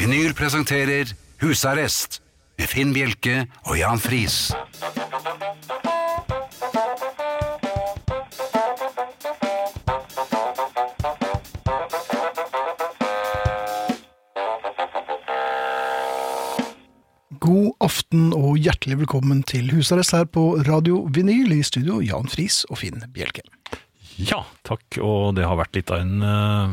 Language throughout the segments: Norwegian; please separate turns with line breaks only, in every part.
Vinyl presenterer Husarrest med Finn Bjelke og Jan Friis.
God aften og hjertelig velkommen til husarrest her på Radio Vinyl i studio, Jan Friis og Finn Bjelke.
Ja, takk. Og det har vært litt av en eh,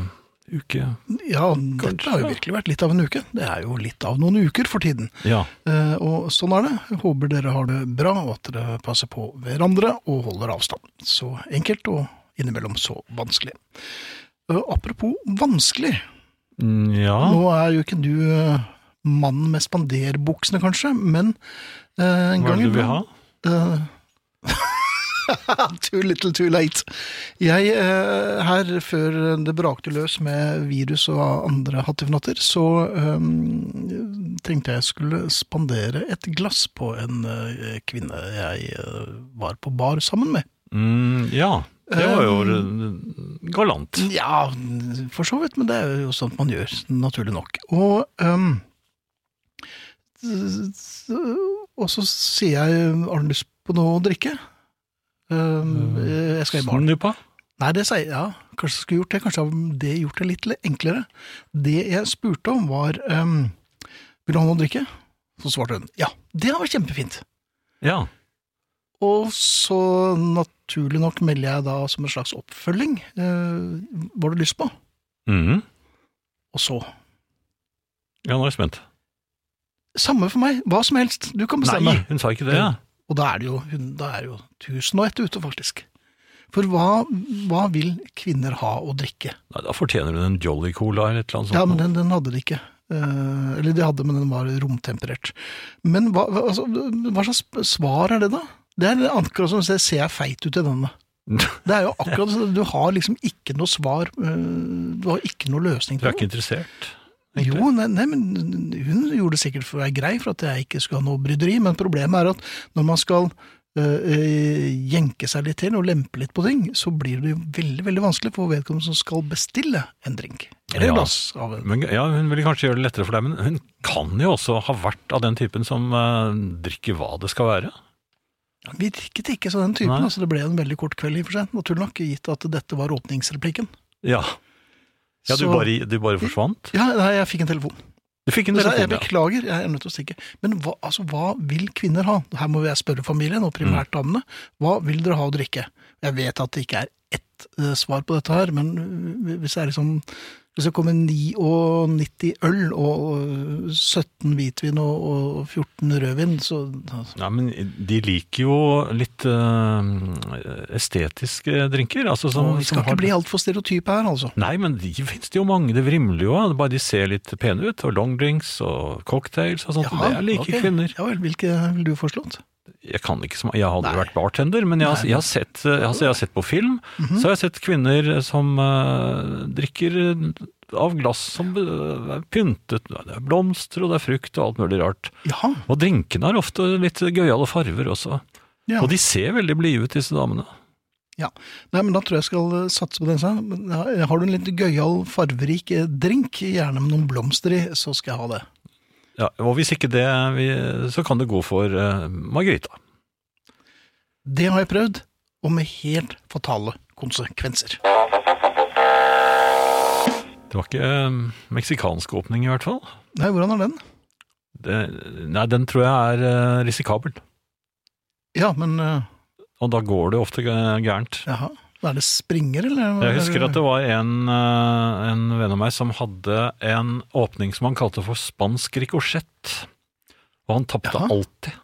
uke.
Ja, dette har jo virkelig vært litt av en uke. Det er jo litt av noen uker for tiden.
Ja.
Eh, og sånn er det. Jeg håper dere har det bra, og at dere passer på hverandre og holder avstand. Så enkelt og innimellom så vanskelig. Eh, apropos vanskelig.
Mm, Ja.
Nå er jo ikke du eh, mannen med spanderbuksene, kanskje, men eh, en
Hva er
gang
det du vil ha?
Eh, too little too late. Jeg, eh, her før det brakte løs med virus og andre hattifnatter, så eh, tenkte jeg skulle spandere et glass på en eh, kvinne jeg eh, var på bar sammen med.
Mm, ja. Det var jo eh, galant.
Ja, for så vidt, men det er jo sånt man gjør, naturlig nok. Og, ehm, s- s- og så sier jeg, har du lyst på noe å drikke? Ehm, eh, jeg skal i baren.
Snuppa.
Nei, det sier jeg, ja. Kanskje jeg skulle gjort det. Kanskje har det gjort det litt le- enklere. Det jeg spurte om var ehm, Vil du ha noe å drikke? Så svarte hun ja. Det hadde vært kjempefint.
Ja.
Og så naturlig nok melder jeg da som en slags oppfølging. eh, Hva har du lyst på?
Mhm.
Og så
Ja, nå er jeg spent.
Samme for meg. Hva som helst. Du kan bestemme.
Nei, hun sa ikke det. Ja.
Og da er det jo, hun- da er det jo tusen og ett ute, faktisk. For hva, hva vil kvinner ha å drikke?
Nei, da fortjener hun en Jolly Cola eller et eller annet sånt.
Ja, men den, den hadde de ikke. Eh, eller de hadde, men den var romtemperert. Men hva, hva- altså, hva slags svar er det, da? Det er akkurat som å si 'ser jeg feit ut i denne'? Det er jo akkurat sånn, Du har liksom ikke noe svar. eh, Du har ikke noe løsning
Du er
på
ikke
det.
interessert? egentlig?
Jo, nei, nei, men hun gjorde det sikkert for å være grei, for at jeg ikke skulle ha noe bryderi. Men problemet er at når man skal eh, eh, jenke seg litt til og lempe litt på ting, så blir det jo veldig veldig vanskelig for vedkommende som skal bestille en drink. Eller
Ja.
et glass av en
Men, ja, hun vil kanskje gjøre det lettere for deg, men hun kan jo også ha vært av den typen som eh, drikker hva det skal være.
Han virket ikke som den typen.
Nei.
altså Det ble en veldig kort kveld, i og for seg, naturlig nok, gitt at dette var åpningsreplikken.
Ja, ja du,
Så-
bare, du bare forsvant?
Ja, nei, jeg fikk en telefon.
Du fikk en
Så jeg, jeg
telefon, ja.
beklager, jeg er nødt til å stikke. Men hva, altså, hva vil kvinner ha? Her må jeg spørre familien, og
Mm.
primært damene. Hva vil dere ha å drikke? Jeg vet at det ikke er ett eh, svar på dette her, men eh, hvis det er liksom hvis det kommer 99 øl og eh, 17 hvitvin og, og 14 rødvin, så
Nei, men de liker jo litt eh, estetiske drinker. Altså som,
Vi skal
som har-
ikke bli altfor stereotype her, altså.
Nei, men de finnes det jo mange. Det vrimler jo av. Bare de ser litt pene ut. Og longdrinks og cocktails og sånt. det er like
ok.
kvinner.
Ja vel, hvilke vil du foreslått?
Jeg kan ikke så mye. Jeg har aldri
Nei.
vært bartender, men jeg har,
Nei. Mhm.
jeg har, sett, eh, altså jeg har sett på film. Så har jeg sett kvinner som eh, drikker av glass som eh, er pyntet. Det er blomster, og det er frukt og alt mulig rart.
Jaha.
Og drinkene har ofte litt gøyale farver også.
Ja.
Og de ser veldig blide ut, disse damene.
ja. Nei, men da tror jeg jeg skal eh, satse på den. sa jeg. Men, ja, Har du en litt gøyal, farverik eh, drink, gjerne med noen blomster i, så skal jeg ha det.
Ja, og hvis ikke det, vi- så kan det gå for eh, Margarita.
Det har jeg prøvd, og med helt fatale konsekvenser.
Det var ikke eh, meksikansk åpning i hvert fall.
Nei, hvordan er den?
Det, nei, den tror jeg er eh, risikabel.
Ja, men eh,
Og da går det ofte eh, gærent.
jaha. Er det springer, eller?
Jeg husker at det var en, eh, en venn av meg som hadde en åpning som han kalte for spansk rikosjett. Og han tapte
Jaha.
alltid.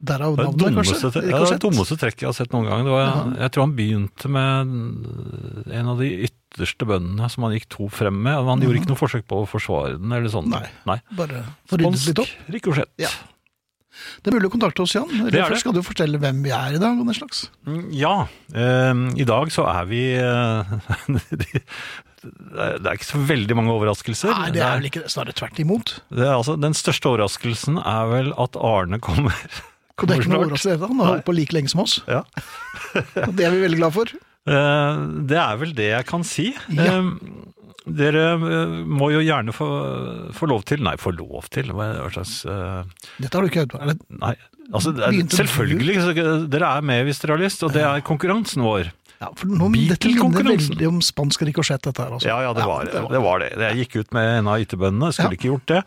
Derav
Det er
navnet,
dummeste,
kanskje?
tre- ja, det er det
Rikosjett?
dummeste trekket jeg har sett noen gang. Det var, jeg tror han begynte med en av de yt, ytterste bøndene som han gikk to frem med. og Han gjorde ikke noe forsøk på å forsvare den eller sånn.
Mhm. Nei. Bare for å rydde
Spansk
litt opp.
rikosjett.
Ja. Det er mulig å kontakte oss, Jan.
Det er
Eller
det.
først skal du fortelle hvem vi er i dag. og den slags.
Mm, Ja. eh, I dag så er vi eh, de- Det er ikke så veldig mange overraskelser.
Nei, det er vel ikke det. Snarere tvert imot.
det er altså, den største overraskelsen er vel at Arne kommer.
Og det er ikke noe
snart.
overraskelse. i det, Han har holdt på like lenge som oss.
Ja.
Og det er vi veldig glad for.
Eh, Det er vel det jeg kan si.
Ja.
Eh, Dere eh, må jo gjerne få, få lov til Nei, få lov til? Hva hva slags eh,
Dette har du ikke hørt på. Eller,
Nei, altså det er,
Begynte du?
selvfølgelig. så Dere er med hvis dere har lyst, og det er konkurransen vår.
ja, for noen, dette ligner
Bilkonkurransen.
veldig om spansk rikosjett, dette her. Altså.
Ja, ja, det var det. det, var det. Jeg gikk ut med en av ytterbøndene, skulle
Ja.
ikke gjort det.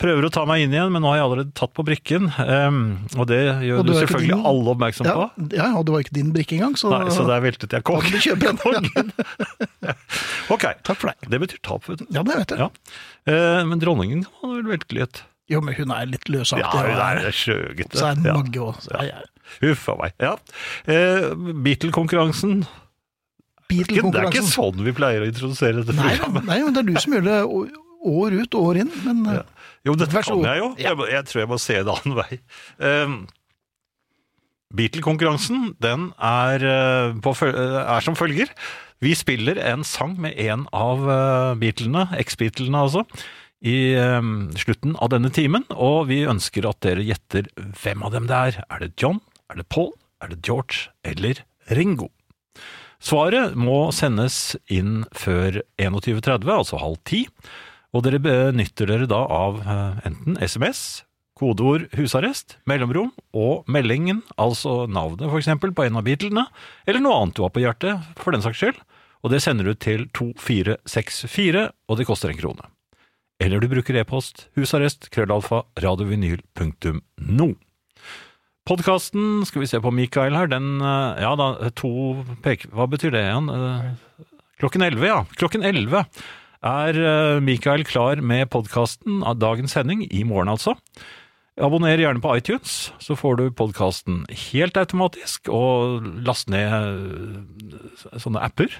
Prøver å ta meg inn igjen, men nå har jeg allerede tatt på brikken. ehm, og det gjør
Og du er
du
ikke
selvfølgelig
din-
alle oppmerksom
ja,
på.
ja, og det var ikke din brikke engang, så,
Nei, så der veltet jeg
da
kong.
kan du kjøpe en. Ja.
Ok,
Takk for deg.
det betyr tap, vet du.
Ja, det vet jeg.
Ja. Eh, men dronningen kan vel velte litt.
Jo, men hun er litt løsaktig.
Ja, hun er sjøgutte.
Så er den
Ja.
Magge også. Ja, ja.
Huff a meg. Ja. Eh, Beatle-konkurransen. Det er ikke
Beatle-konkurransen.
sånn vi pleier å introdusere dette
Nei,
programmet.
nei, men det er du som gjør det å- år ut og år inn. Men eh,
Jo, dette
Vær så
kan
god.
jeg jo.
Ja.
Jeg, må- jeg tror jeg må se en annen vei. Ehm, Beatle-konkurransen den er, eh, på, føl- eh, er som følger. Vi spiller en sang med en av eh, Beatlene, eks-Beatlene altså, i ehm, slutten av denne timen. Og vi ønsker at dere gjetter hvem av dem det er. Er det John, er det Paul, er det George eller Ringo? Svaret må sendes inn før 21.30, altså halv ti. Og dere benytter dere da av eh, enten SMS, kodeord husarrest, mellomrom og meldingen, altså navnet for eksempel på en av Beatlene, eller noe annet du har på hjertet, for den saks skyld. Og det sender du til 2464, og det koster en krone. Eller du bruker e-post husarrest krøllalfa radiovinyl.no. Podkasten, skal vi se på Mikael her, den eh, Ja da, to peke... Hva betyr det igjen? Eh, Klokken 11, ja. Klokken 11 er eh, Mikael klar med podkasten av dagens sending, i morgen altså. Abonner gjerne på iTunes, så får du podkasten helt automatisk, og last ned eh, sånne apper.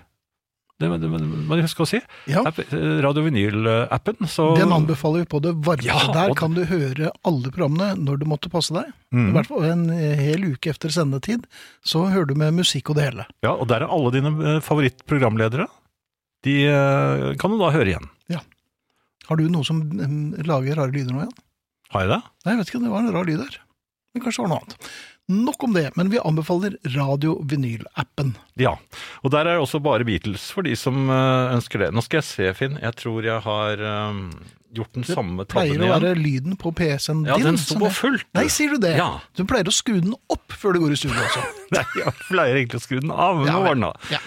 Det må- det må det må jeg huske å si.
ja,
App, eh, Radio Vinyl-appen. så-
den anbefaler vi på det varmeste.
Ja,
Der
og-
kan du høre alle programmene når du måtte passe deg. I
Mm.
hvert fall en eh, hel uke etter sendetid, så hører du med musikk og det hele.
Ja, og der er alle dine eh, favorittprogramledere. De eh, kan du da høre igjen.
Har du noe som em, lager rare lyder nå igjen?
Har jeg det?
Nei, jeg vet ikke, det var en rar lyd her. Men kanskje det var noe annet. Nok om det, men vi anbefaler radio-vinyl-appen.
Ja. Og der er også bare Beatles for de som eh, ønsker det. Nå skal jeg se, Finn. Jeg tror jeg har eh, gjort den samme
Pleier
tabben
å
igjen.
være lyden på PC-en
Ja,
din.
den sto
som
på
jeg-
fullt.
Nei, sier du det?
Ja.
Du pleier å skru den opp før du går i studio også.
Nei, jeg pleier egentlig å skru den av, men
Ja,
nå var den
vel.
av.
Ja.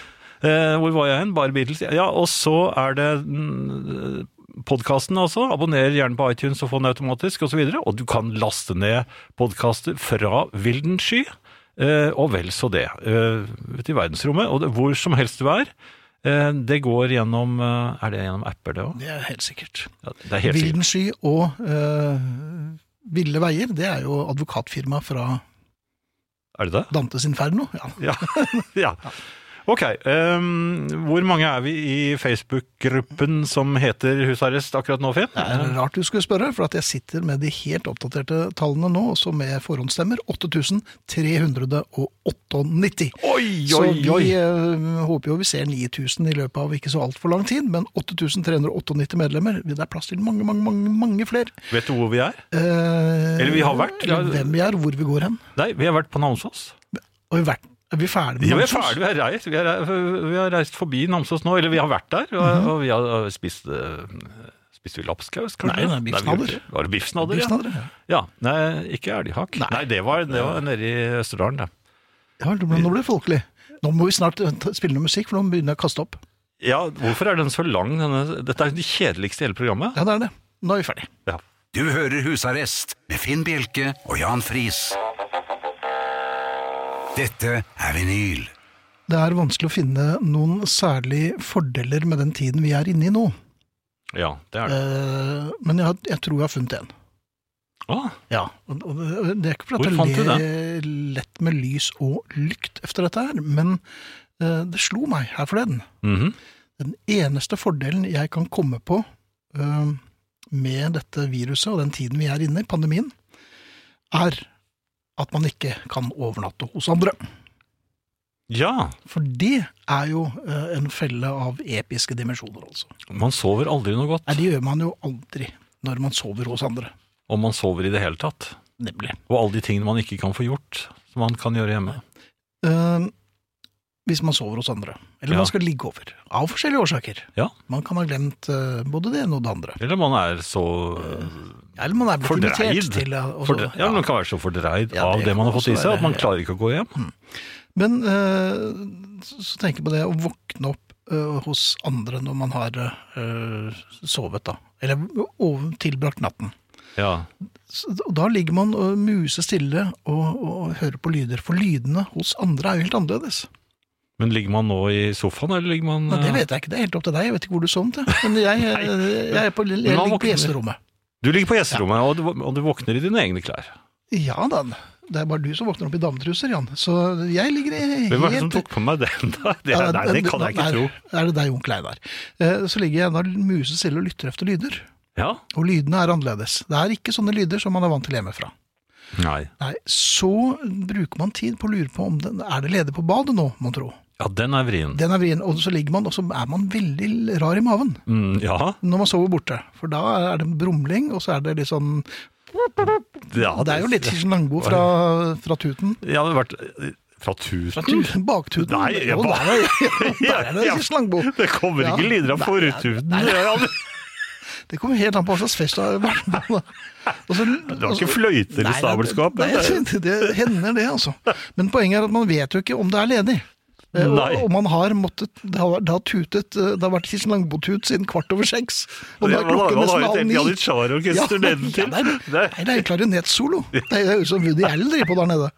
Eh, hvor var jeg hen? Bare Beatles. Ja, og så er det mm, podkasten, altså. Abonner gjerne på iTunes og få den automatisk, osv. Og, så videre. og du kan laste ned podkaster fra vilden sky, eh, og vel så det, eh, ute i verdensrommet. Og det, hvor som helst du er. Eh, det går gjennom eh, Er det gjennom apper, det òg?
Det er helt sikkert.
Ja, det er helt sikkert.
Vilden sky og eh, Ville veier, det er jo advokatfirmaet fra
Er det det?
Dantes Inferno. Ja.
Ja. ja. Ok, ehm, hvor mange er vi i Facebook-gruppen som heter Husarrest akkurat nå, Finn?
Det er rart du skulle spørre, for at jeg sitter med de helt oppdaterte tallene nå, også med forhåndsstemmer. 8398.
Oi,
Så
oi,
vi
oi!
eh, håper jo vi ser 9000 i løpet av ikke så altfor lang tid, men 8398 medlemmer, det er plass til mange, mange, mange, mange flere.
Vet du hvor vi er?
Eh,
Eller vi har vært,
eller
eller-
hvem vi er, hvor vi går hen.
Nei, vi har vært på Namsos.
Og vi har vært, er vi ferdig
Ja, vi er
Namsos?
ferdig, vi har reist, vi har, re- vi har reist forbi Namsos nå, eller vi har vært der, og, og vi har spist... eh, Spiste vi lapskaus, kanskje?
Nei, nei,
vi
biffsnadder.
gjorde det. Var det biffsnadder? ja?
Biffsnadder, ja.
Ja, nei, ikke elghakk. Nei, det, var, det var nede i Østerdalen, det.
Ja, nå ble det folkelig. Nå må vi snart eh, ta- spille noe musikk, for nå begynner jeg å kaste opp.
Ja, hvorfor er den så lang? Denne, dette er jo det kjedeligste i hele programmet.
Ja, det er det. Nå er vi ferdig.
Ja.
Du hører Husarrest med Finn Bjelke og Jan Friis. Dette er vinyl.
Det er vanskelig å finne noen særlig fordeler med den tiden vi er inne i nå.
Ja, det er det.
Eh, men jeg, har- jeg tror jeg har funnet en.
Ah,
Ja. og- og Det det er ikke fordi
Hvor fant
at
du
jeg ler lett med lys og lykt efter dette her, men eh, det slo meg her forleden.
mhm.
Eh, Den eneste fordelen jeg kan komme på øhm, med dette viruset og den tiden vi er inne i, pandemien, er at man ikke kan overnatte hos andre.
Ja,
For det er jo øh, en felle av episke dimensjoner, altså.
man sover aldri noe
Nei,
godt.
det gjør man jo aldri når man sover hos andre.
Om man sover i det hele tatt.
Nemlig.
Og alle de tingene man ikke kan få gjort, som man kan gjøre hjemme.
Øhm, Ehm, hvis man sover hos andre. Eller
Ja.
man skal ligge over. Av forskjellige årsaker.
Ja.
Man kan ha glemt øh, både det ene og det andre.
Eller man er så
Eller man er blitt
Fordreid.
invitert til eh, å- og så-
fordre, ja, Man kan være så fordreid
altså, Ja, det
av det man har
kan
fått i
også
seg, at man
være-
klarer ikke å gå hjem.
Men eh, så- så tenker jeg på det å våkne opp eh, hos andre når man har eh, sovet, da. Eller over, tilbrakt natten.
Ja,
Så, og da ligger man uh, musestille og, og hører på lyder, for lydene hos andre er jo helt annerledes.
Men ligger man nå i sofaen, eller ligger man
Nei, det vet jeg ikke, det er helt opp til deg, jeg vet ikke hvor du sovnet. jeg. Men jeg, jeg, jeg, er på, jeg
Men man
ligger på
våkner.
gjesterommet.
eh, Du ligger på gjesterommet, og, du, og du våkner i dine egne klær.
Ja da, det er bare du som våkner opp i dametruser, Jan. Så jeg ligger i-
Hvem var det som
helt
tok på meg den, da? Det,
Ja,
nei, det kan jeg ikke
nei,
tro.
Er det deg, onkel Einar? Eh, Så ligger jeg da musestille og lytter efter lyder.
Ja?
Og lydene er annerledes. Det er ikke sånne lyder som man er vant til hjemmefra.
Nei.
Nei, Så bruker man tid på å lure på om det er det ledig på badet nå, mon tro.
Ja, den er vrien.
Den er vrien, og så ligger man, og så er man veldig rar i maven
Mm, ja,
når man sover borte. For da er det brumling, og så er det litt sånn
ja.
Det er jo litt Kirsten Langbo fra, fra Tuten.
Jeg hadde vært eh, Fra tuten?
Fra tuten, Baktuten.
Mm. Nei, jeg
Jo,
ba-
der er det- der er det
Ja.
Kirsten Langbo.
Det kommer ikke
Ja.
lyder av
Nei,
fortuten.
nei,
Det er aldri-
Det kommer helt an på hva slags fest det har vært. på, da. Og så-
Du har
og så-
ikke fløyter i
Nei,
stabelskapet?
Nei, det,
Det-
det hender det, altså. Men poenget er at man vet jo ikke om det er ledig. Eh, Og,
Nei.
og man har måttet Det har, det har tutet eh, Det har vært Kirsten Langbotut siden kvart over seks. Og nå
Ja,
er
man, har-
klokken
man har
nesten
jo
halv
et helt
ni.
Janitsjar-orkester
Ja,
nedentil.
ja, nei,
det,
Nei, det er jo klarinettsolo. Det er jo som Woody Allen driver på der nede.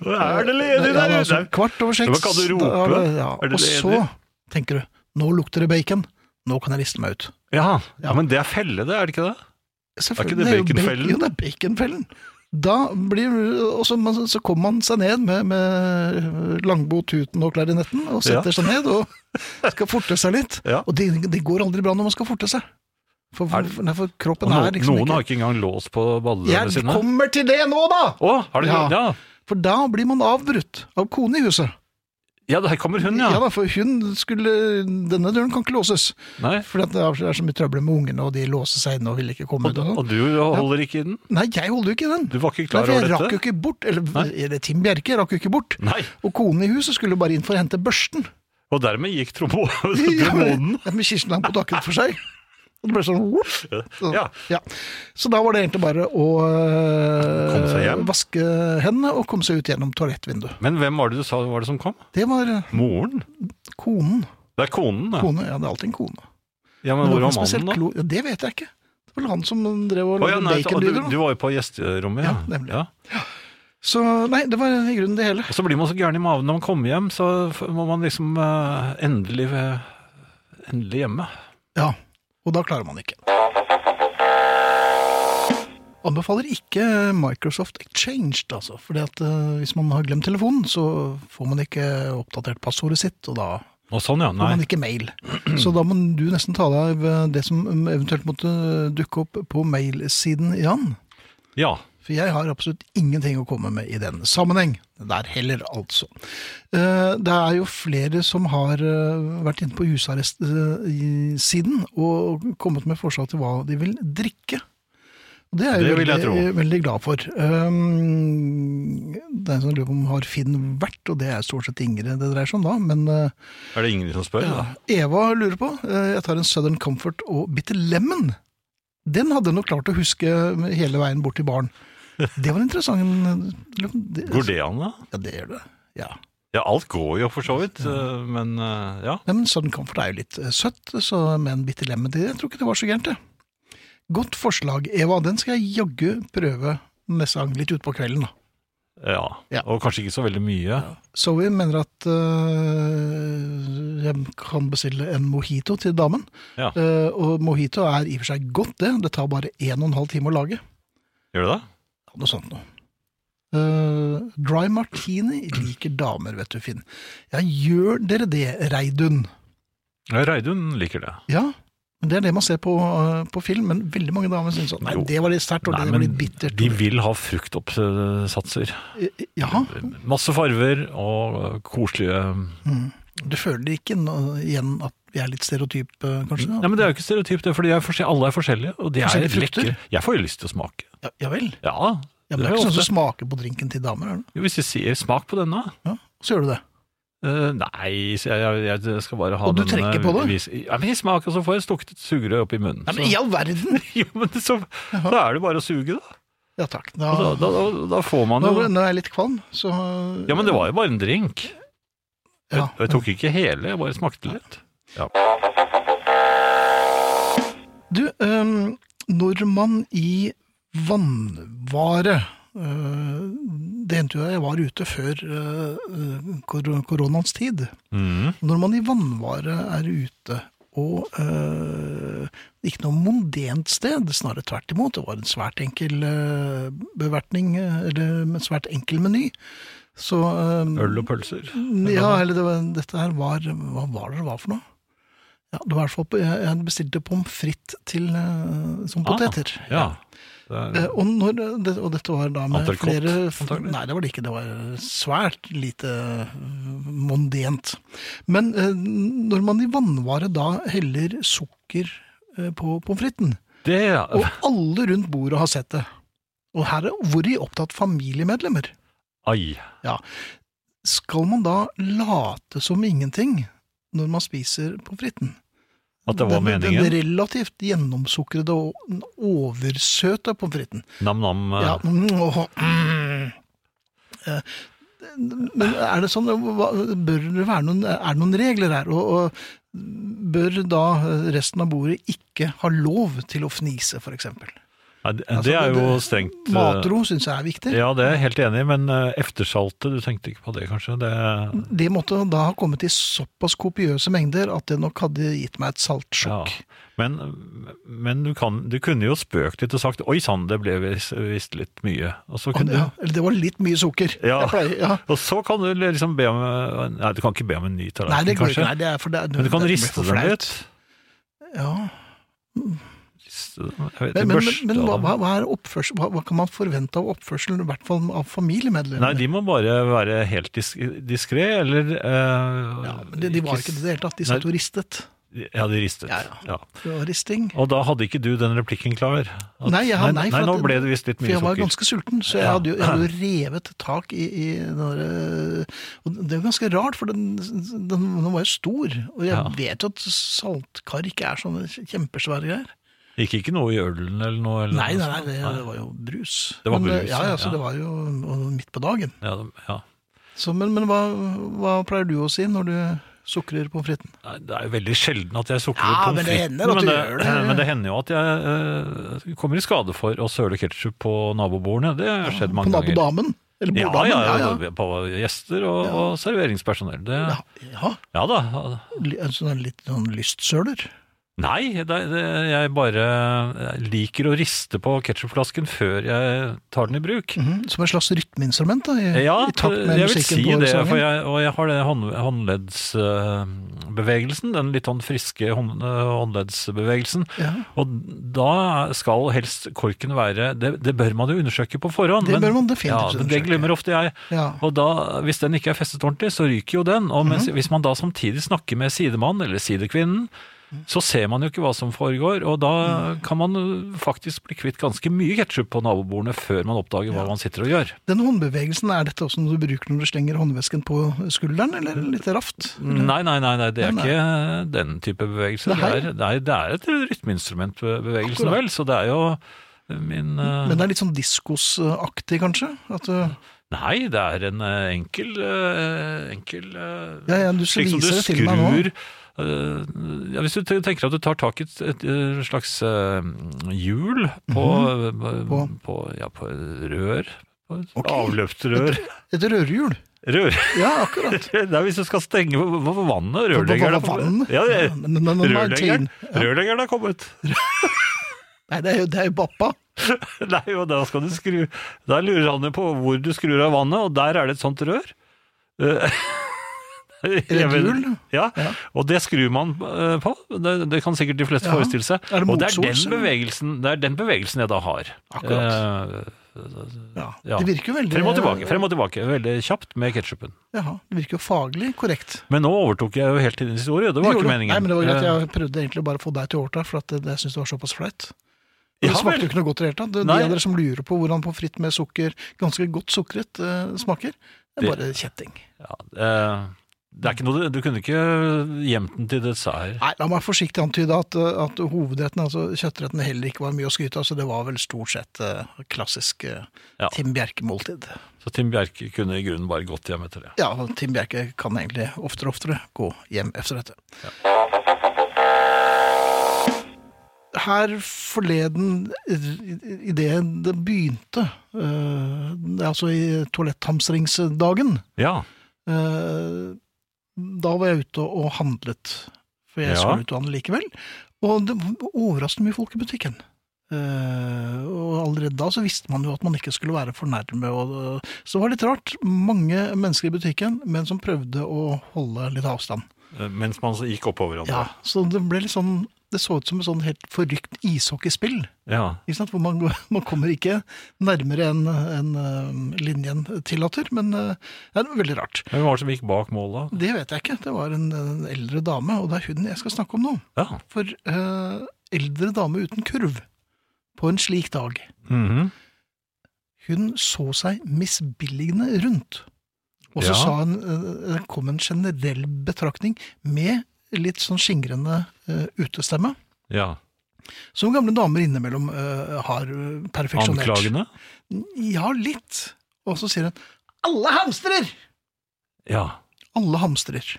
er det
Ja,
ledig der
da,
ute?
altså, kvart over seks.
Men kan du rope?
da er det- ja.
Er det
Og så
ledig?
tenker du Nå lukter det bacon. Nå kan jeg riste meg ut.
Ja, ja, men det er felle, det, er det ikke det?
Selvfølgelig.
Er ikke det
jo bacon-
baconfellen?
Jo, det er baconfellen. Da blir, og så, men så kommer man seg ned med, med langbo, tuten og klarinetten, og setter
Ja.
seg ned og skal forte seg litt.
Ja.
Og det, det går aldri bra når man skal forte seg. For,
Er det-
for, nei, for
Og
kroppen
no,
er liksom
noen har
ikke
ikke engang lås på ballene
Jeg
sine.
kommer til det nå, da!
Å, har de
Ja.
ja.
For da blir man avbrutt av kone i huset.
ja, her kommer hun, ja.
da, for hun skulle Denne døren kan ikke låses.
Nei.
For det er så mye trøbbel med ungene, og de låser seg inne og vil ikke komme
Og,
ut. og sånn.
og du holder ikke i den?
Nei, jeg holder jo ikke i den.
Du var
Nei,
ikke klar
for jeg
over
rakk jo
dette?
ikke bort, eller,
Nei.
eller Tim Bjerke rakk jo ikke bort.
Nei.
Og konen i huset skulle bare inn for å hente børsten.
Og dermed gikk tromo-
Ja,
tromonen.
men- ja, Med Kirsten lang på taket for seg. Og det ble sånn whoop. Så,
Ja.
Så da var det egentlig bare å øh,
Komme seg hjem.
vaske hendene og komme seg ut gjennom toalettvinduet.
Men hvem var det du sa var det som kom?
Det var øh,
Moren?
konen.
Det er konen, ja.
Kone, ja, det er alltid en kone.
ja men
det var
hvor var
ikke noe spesielt
mannen, da?
klo- ja, det vet jeg ikke. Det var vel han som drev og
Å, ja,
lagde
nei, du,
baconlyder.
du
da.
var jo på gjesterommet, ja.
Ja, nemlig.
ja.
Så nei, det var i grunnen det hele.
Og så blir man så gæren i maven når man kommer hjem, så f- må man liksom eh, endelig eh, Endelig hjemme.
Ja, og da klarer man ikke. Anbefaler ikke Microsoft Exchange, altså. fordi at eh, hvis man har glemt telefonen, så får man ikke oppdatert passordet sitt, og da
Og sånn, ja.
får
Nei.
man ikke mail. Så da må du nesten ta deg av eh, det som eh, eventuelt måtte dukke opp på mailsiden, Jan.
Ja.
For jeg har absolutt ingenting å komme med i den sammenheng. Der heller, altså. Eh, Det er jo flere som har eh, vært inne på husarrestsiden og kommet med forslag til hva de vil drikke. Og Det er jeg,
Det
jo
vil jeg
veldig, veldig glad for. Um, det er en som lurer på om har Finn vært, og det er stort sett Ingrid det dreier seg om da, men eh,
Er det ingen som spør? da?
Eva lurer på. eh, Jeg tar en Southern Comfort og Bitter Lemon. Den hadde jeg nok klart å huske hele veien bort til baren. Det var interessant. eh, Det,
Går det an, da?
Ja, det gjør det. Ja.
Ja, alt går jo for så vidt, eh, men eh, ja.
Nei, men Southern Comfort er jo litt eh, søtt, så med en Bitter Lemon til Jeg tror ikke det var så gærent, det. Godt forslag, Eva. Den skal jeg jaggu prøve neste gang, litt utpå kvelden. da.
ja.
Ja.
Og kanskje ikke så veldig mye.
Zoe mener at øh, jeg kan bestille en mojito til damen.
Ja.
Eh, og mojito er i og for seg godt, det. Det tar bare en og en halv time å lage.
Gjør det det?
Ja, noe sånt noe. Eh, dry martini liker damer, vet du, Finn. Ja, gjør dere det, Reidun?
Reidun liker det.
Ja, men det er det man ser på, øh, på film, men veldig mange damer syns sånn. Nei,
Jo.
det var litt sterkt, og
Nei,
det var
men
litt bittert. Eh,
de vil ha fruktoppsatser.
Ja,
Masse farver og koselige
du føler ikke nå igjen at vi er litt stereotype, kanskje?
Nei, men Det er jo ikke stereotypt, det er fordi jeg er forskjell- alle er forskjellige, og de er
Forskjellige frukter?
lekre. Jeg får jo lyst til å smake.
ja, ja vel.
Ja,
Ja, men det
det
er
er
ikke sånn
ofte.
som smaker på drinken til damer, er det?
jo, hvis jeg sier 'smak på denne'
Ja, så gjør du det.
Eh, nei, så jeg, jeg, jeg skal bare ha
Og du
denne
trekker på det?
vis- Ja, men jeg smaker, så får jeg stukket et sugerør opp i munnen.
Nei, men
så,
i all verden!
jo, men så,
Jaha. Ah.
da er det bare å suge, da.
Ja takk. Da,
Da, da, da, da får man
nå,
jo
nå er jeg litt kvalm, så
Ja, men det var jo bare en drink.
Ja.
Og jeg tok ikke hele, jeg bare smakte litt.
Du, øhm, nordmann i vannvare. Øh, det endte jo jeg var ute før øh, øh, kor koronaens tid.
Mm.
Nordmann i vannvare er ute, og øh, ikke noe mondent sted, snarere tvert imot. Det var en svært enkel øh, bevertning, øh, eller en svært enkel meny. Så øh,
Øl og pølser.
ja, eller det var, dette her var Hva var det det var for noe? Ja, det var i hvert fall, på- jeg jeg bestilte pommes frites til, eh, som poteter.
Ah, Ja. Det
Eh,
er,
Og, når, det, og dette var da med
Entrecôte,
flere
antagelig.
Nei, det var det ikke. Det var svært lite eh, mondent. Men eh, når man i vannvare da heller sukker eh, på pommes fritesen,
det,
og alle rundt bordet har sett det Og her er hvor de opptatt familiemedlemmer.
ai.
Skal man da late som ingenting når man spiser pommes fritesen?
At det var
Den-
meningen.
Den relativt gjennomsukrede og oversøte pommes fritesen.
Nam-nam. eh,
Ja. mm, åh, mm. Eh, Men er det sånn hva- Bør det være noen, er det noen regler her? Og, og bør da resten av bordet ikke ha lov til å fnise, f.eks.?
nei, det,
Altså,
det er
det-
jo
det-
strengt eh,
Matro syns jeg er viktig.
Ja, det er jeg helt enig i, men eh, eftersaltet, du tenkte ikke på det kanskje? Det,
Det måtte da ha kommet i såpass kopiøse mengder at det nok hadde gitt meg et saltsjokk.
Men, men du, kan, du kunne jo spøkt litt og sagt 'oi sann, det ble vis- visst litt mye'. Og så,
Å,
kunne,
ja. Eller det var litt mye sukker.
Ja.
Jeg pleier, ja.
og så kan du liksom be om Nei, du kan ikke be om en ny
Nei,
tallerken,
det går
kanskje.
ikke. Nei, det er for det, er-
men du kan
det blir
riste
for
den
flaut.
litt.
Ja.
Riste den, Jeg
Men,
vet,
men, men,
børste
men hva,
den.
hva, hva er oppførsel, hva, hva kan man forvente av oppførsel, i hvert fall av familiemedlemmer?
Nei, de må bare være helt dis diskré, eller eh,
ja, men de, de var ikke det i det hele tatt, de satt og ristet.
Ja, de ristet.
Ja,
Ja.
Det var risting.
Og da hadde ikke du den replikken klar? At,
Nei, jeg har- nei, for
nei, nå
at-
ble det visst litt
For
mye
jeg var
sukker.
ganske sulten, så jeg
Ja.
hadde jo, jeg hadde jo revet tak i, i den der, eh, Og det er jo ganske rart, for den, den, den var jo stor. Og jeg
Ja.
vet jo at saltkar ikke er sånne kjempesvære greier.
Gikk ikke noe i ølen eller noe? Eller
Nei, nei,
noe
nei det,
sånt?
det var jo brus.
Det var
Men,
brus,
ja, ja, så
ja.
det var jo og midt på dagen.
Ja, det- ja.
Så, men men hva, hva pleier du å si når du sukrer pommes fritesen?
Nei, Det er jo veldig sjelden at jeg sukrer
Ja,
pommes
men det
fritesen,
hender at
men,
du
det-
gjør det.
men det hender jo at jeg eh, kommer i skade for å søle ketsjup på nabobordene. Det har skjedd
På
mange ganger.
nabodamen? Eller
Ja,
borddamen?
ja, ja,
ja.
På gjester og, og serveringspersonell. Det, ja.
Ja,
da.
li- en sånn litt sånn lystsøler.
Nei, det, det, jeg bare jeg liker å riste på ketsjupflasken før jeg tar den i bruk.
Mhm, Som et slags rytmeinstrument, da? I,
Ja,
i takt med
jeg vil
musikken
si
på
det,
sangen.
for jeg, og jeg har den hånd, håndleddsbevegelsen, den litt sånn friske hånd, eh, håndleddsbevegelsen.
Ja.
Og da skal helst korken være Det, det bør man jo undersøke på forhånd.
Det
men-
bør man definitivt
ja, det- Det
undersøke.
glemmer ofte jeg.
Ja.
Og da, hvis den ikke er festet ordentlig, så ryker jo den. Og mens,
Mhm.
hvis man da samtidig snakker med sidemannen eller sidekvinnen,
Mhm.
så ser man jo ikke hva som foregår, og da kan man jo faktisk bli kvitt ganske mye ketsjup på nabobordene før man oppdager hva man sitter og gjør.
Denne håndbevegelsen, er dette også noe du bruker når du slenger håndvesken på skulderen, eller litt raft?
Nei, nei, nei, nei det er
Mm. Nei, nei.
ikke den type bevegelse. Det
Nei.
er, nei, det er et rytmeinstrumentbevegelsen,
Akkurat.
vel, så det er jo min eh,
Men det er litt sånn diskosaktig, kanskje? At øh, du,
Nei, det er en eh, enkel, eh, enkel eh,
ja, ja, du skal
Slik som du
vise det til meg nå.
skrur eh, ja, Hvis du te- tenker at du tar tak i et, et, eh, slags eh, hjul på, eh,
Mhm. På?
På, ja, på rør på et
Ok.
Avløpsrør.
Et rørhjul.
Rør.
Ja, akkurat.
Det er hvis du skal stenge hva- hva- hva- vannet. Rørleggeren er på-
vann?
Ja, det-
Ja, men- men- men-
Rørleggeren
Ja.
Rørleggeren er kommet.
Nei, det er jo, det er jo bappa.
Nei, og da skal du skru Der lurer han jo på hvor du skrur av vannet, og der er det et sånt rør. Eh, Jeg vet-
gul?
Ja,
Ja.
og det skrur man eh, på. Det, det kan sikkert de fleste
Ja.
forestille seg.
Er det
og det er,
motsols,
den
eller?
bevegelsen, det er den bevegelsen jeg da har.
Akkurat.
Eh,
Ja.
Ja.
Det virker jo veldig
frem og tilbake, frem og tilbake, veldig kjapt med ketsjupen.
Jaha, det virker jo faglig korrekt.
Men nå overtok jeg jo helt din historie, det var
gjorde
ikke
du.
meningen.
Nei, men det var greit.
Eh,
Jeg prøvde egentlig bare å få deg til å overta, for at eh, det, jeg syns det var såpass flaut. Og
Ja,
Det smakte
vel.
jo ikke noe godt i det hele tatt. Det-
Nei.
De av dere som lurer på hvordan pommes frites med sukker, ganske godt sukret, eh, smaker, det er
Det-
bare kjetting.
ja, eh, det er ikke noe, du kunne ikke gjemt den til dessert.
Nei, la meg forsiktig antyde at, eh, at hovedretten, altså kjøttretten, heller ikke var mye å skryte av, så det var vel stort sett eh, klassisk eh,
Ja.
Tim Bjerke-måltid.
Så Tim Bjerke kunne i grunnen bare gått hjem etter det.
Ja, og Tim Bjerke kan egentlig oftere og oftere gå hjem etter dette. Her forleden, idet det begynte, øh, altså i toaletthamstringsdagen,
Ja,
øh, da var jeg ute og handlet. For jeg
Ja.
skulle ut og handle likevel. Og det var overraskende mye folk i butikken. Eh, og allerede da så visste man jo at man ikke skulle være for nærme. Og, så det var litt rart. Mange mennesker i butikken, men som prøvde å holde litt avstand.
eh, mens man så gikk oppover hverandre.
Ja, Så det ble litt sånn Det så ut som et sånn helt forrykt ishockeyspill.
Ja.
Ikke sant? Hvor man, går- man kommer ikke nærmere enn enn, eh, linjen tillater. Men eh, ja, det var veldig rart.
Men Hvem var det som gikk bak målet?
Det vet jeg ikke. Det var en, en eldre dame, og det er hun jeg skal snakke om nå.
Ja.
For eh, eldre dame uten kurv på en slik dag.
Mhm.
Hun så seg misbilligende rundt. Og så
Ja.
sa hun, eh, det kom en generell betraktning med litt sånn skingrende eh, utestemme.
ja.
Som gamle damer innimellom eh, har eh, perfeksjonert.
Anklagende?
Ja, litt. Og så sier hun 'alle hamstrer'!
Ja.
Alle hamstrer.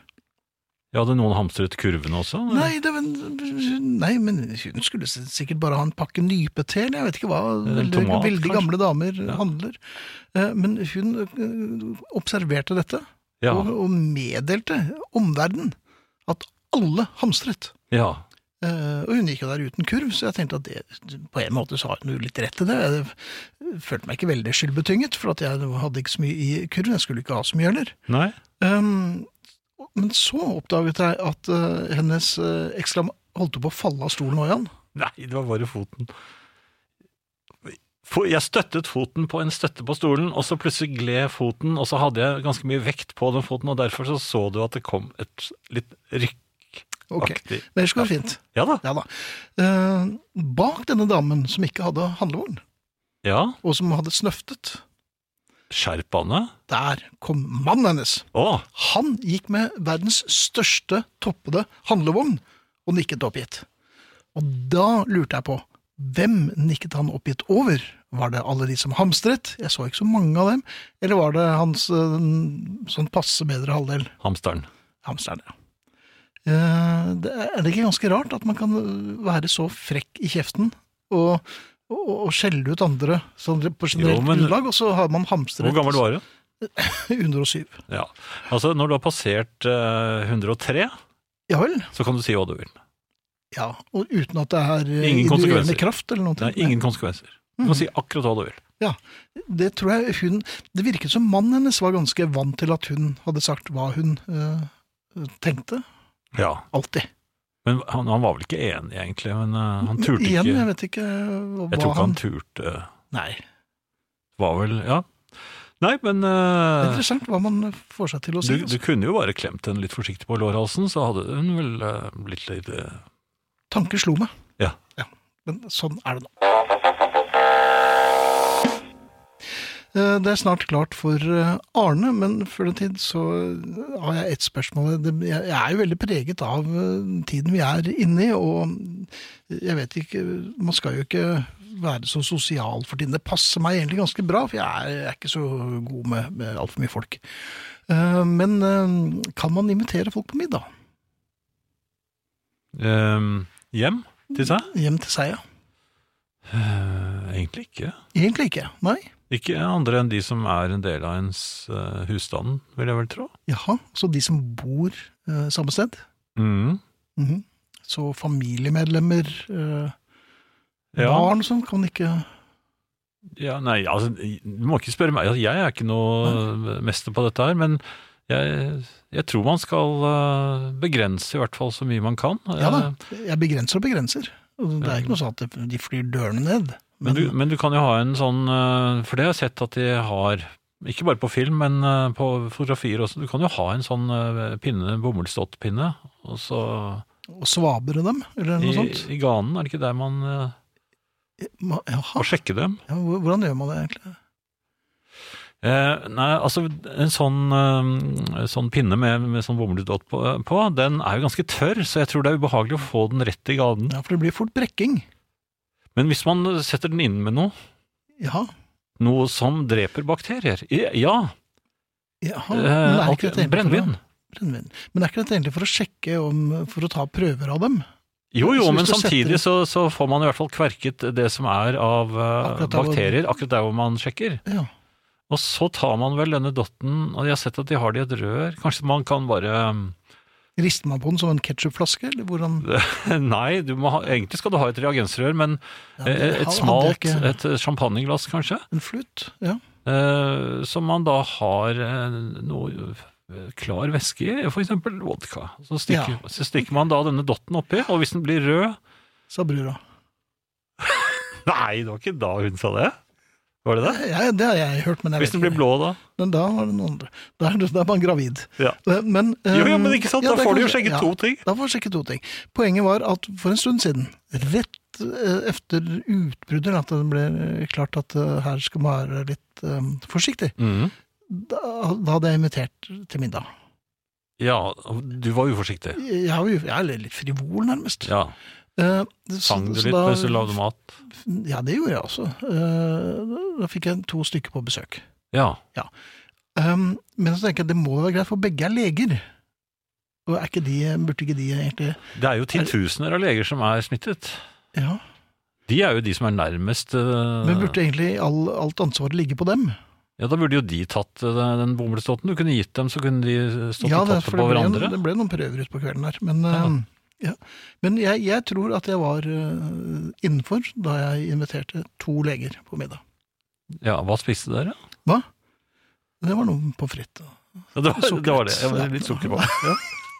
Ja, hadde noen hamstret kurvene også?
Nei, det, var- nei, men hun skulle s- sikkert bare ha en pakke nypete, eller jeg vet ikke hva.
En
Veldig,
tomat,
veldig
kanskje?
gamle damer handler. Eh, Men hun eh, observerte dette,
Ja,
og, og meddelte omverdenen at alle hamstret.
ja.
Eh, Og hun gikk jo der uten kurv, så jeg tenkte at det, på en måte så har hun jo litt rett i det. Jeg følte meg ikke veldig skyldbetynget, for at jeg hadde ikke så mye i kurv. Jeg skulle ikke ha så mye heller.
Nei?
Um, men så oppdaget jeg at eh, hennes uh, eksklam holdt på å falle av stolen òg, Jan.
Nei, det var bare foten. Fo- Jeg støttet foten på en støtte på stolen, og så plutselig gled foten, og så hadde jeg ganske mye vekt på den foten, og derfor så, så du at det kom et litt rykkaktig
Ok, Men ellers går det fint.
Ja da.
Ja da. Eh, bak denne damen som ikke hadde handlevogn,
Ja,
og som hadde snøftet,
skjerpene.
der kom mannen hennes.
Å,
Han gikk med verdens største toppede handlevogn og nikket oppgitt. Og da lurte jeg på hvem nikket han oppgitt over? Var det alle de som hamstret? Jeg så ikke så mange av dem. Eller var det hans eh, sånn passe bedre halvdel?
hamsteren.
Hamsteren, ja. Eh, det er er det ikke ganske rart at man kan eh, være så frekk i kjeften og, og, og skjelle ut andre sånn på generelt
men-
grunnlag, og så har man hamstret
Hvor gammel var du?
107.
Ja. Altså, når du har passert eh, 103,
Ja vel?
så kan du si hva du vil.
Ja, og uten at det er eh,
Ingen konsekvenser.
ideerende kraft eller noe.
Det er ingen konsekvenser. Du kan si akkurat hva du vil.
Ja, det tror jeg hun Det virket som mannen hennes var ganske vant til at hun hadde sagt hva hun eh, tenkte.
Ja.
Alltid.
Men han, han var vel ikke enig, egentlig. Men eh, han turte
Igjen,
ikke.
jeg
Jeg,
vet ikke hva
tror ikke han,
han
turte.
Nei.
Var vel Ja. Nei, men
Det er
eh,
interessant hva man får seg til å
du,
si.
du
altså.
kunne jo bare klemt henne litt forsiktig på lårhalsen, så hadde hun vel eh, blitt litt eh,
Tanker slo meg.
Ja.
Men sånn er det nå. Eh, Det er snart klart for eh, Arne, men før den tid så eh, har jeg ett spørsmål. Det- Jeg jeg er jo veldig preget av eh, tiden vi er inne i, og eh, jeg vet ikke Man skal jo ikke være så sosial for tiden. Det passer meg egentlig ganske bra, for jeg er, jeg er ikke så god med, med altfor mye folk. Eh, Men eh, kan man invitere folk på middag?
eh, hjem til seg.
Hjem til seg, ja.
Eh, egentlig ikke.
Egentlig ikke. Nei.
Ikke andre enn de som er en del av ens eh, husstand, vil jeg vel tro.
Jaha, så de som bor eh, samme sted?
Mm.
Mhm. Så familiemedlemmer, eh,
Ja.
barn som kan ikke
Ja, nei, altså, du må ikke spørre meg. Altså, Jeg er ikke noe mester på eh, dette her, men jeg, jeg tror man skal eh, begrense i hvert fall så mye man kan.
Ja da,
Eh,
jeg begrenser og begrenser. Og Det er ikke noe sånn at de flyr dørene ned.
Men du, men du kan jo ha en sånn eh, For det har jeg sett at de har, ikke bare på film, men eh, på fotografier også, du kan jo ha en sånn eh, pinne, bomullsdottpinne, og så
og svabre dem, eller
i,
noe sånt.
i ganen, er det ikke der man eh,
Ma- Jaha,
må sjekke dem?
ja, hvor- hvordan gjør man det egentlig?
Eh, nei, altså en sånn, eh, sånn pinne med, med sånn bomullsdott på, på, den er jo ganske tørr, så jeg tror det er ubehagelig å få den rett i ganen.
Ja, For det blir fort brekking.
Men hvis man setter den inn med noe,
Jaha.
noe som dreper bakterier, i- ja,
jaha. Men
eh,
er ikke
alt-
dette egentlig for å-
brennevin.
Brennevin. Men er ikke dette egentlig for å sjekke om For å ta prøver av dem?
Jo, jo,
Så hvis
men
du setter
samtidig
det-
så, så får man i hvert fall kverket det som er av eh,
Akkurat der hvor-
bakterier, akkurat der hvor man sjekker.
Ja.
Og så tar man vel denne dotten, og jeg har sett at de har det i et rør. Kanskje man kan bare
Rister man på den som en ketsjupflaske, eller hvordan
Nei, du må ha, egentlig skal du ha et reagensrør, men
Ja, det
eh, et
hadde jeg
smalt
ikke.
et champagneglass, kanskje,
En flut? Ja.
eh, som man da har eh, noe eh, klar væske i, for eksempel vodka. Så stikker, så stikker man da denne dotten oppi, og hvis den blir rød
Sa brura.
Nei, det var ikke da hun sa det. Var det det?
Ja, det har jeg hørt, men jeg
Hvis
vet
den blir
ikke.
blå, da?
Men da var det noen andre. Da er, da er man gravid.
Ja.
Eh, Men, eh,
Jo, ja, men ikke sant?
ja,
Da
det
får
kan
du jo
skje.
skjegget
Ja.
to ting.
Da får jeg sjekke to ting. Poenget var at for en stund siden, rett eh, efter utbruddet, at det ble eh, klart at eh, her skal man være litt eh, forsiktig, da, da hadde jeg invitert til middag.
Ja, du var uforsiktig.
Jeg er jo jeg er litt frivol, nærmest.
Ja,
Eh, så-
Sang du
så
litt
da-
mens du lagde mat?
Ja, det gjorde jeg også. Eh, da fikk jeg to stykker på besøk.
Ja.
Um, men så tenker jeg det må jo være greit, for begge er leger. Og er ikke de, burde ikke de egentlig
Det er jo titusener av leger som er smittet.
Ja.
De er jo de som er nærmest eh,
Men burde egentlig all, alt ansvaret ligge på dem?
Ja, da burde jo de tatt eh, den bomullsdotten. Du kunne gitt dem, så kunne de eh, stått
Ja,
og
det,
tatt
for
det på
det ble,
hverandre.
en, det ble noen prøver utpå kvelden der. Men,
Ja.
um, ja. men jeg, jeg tror at jeg var uh, innenfor da jeg inviterte to leger på middag.
Ja, Hva spiste dere?
Hva? Det var noe pommes frites.
Ja, det, var,
Sukker.
det var det. Jeg var litt sukker på.
Ja.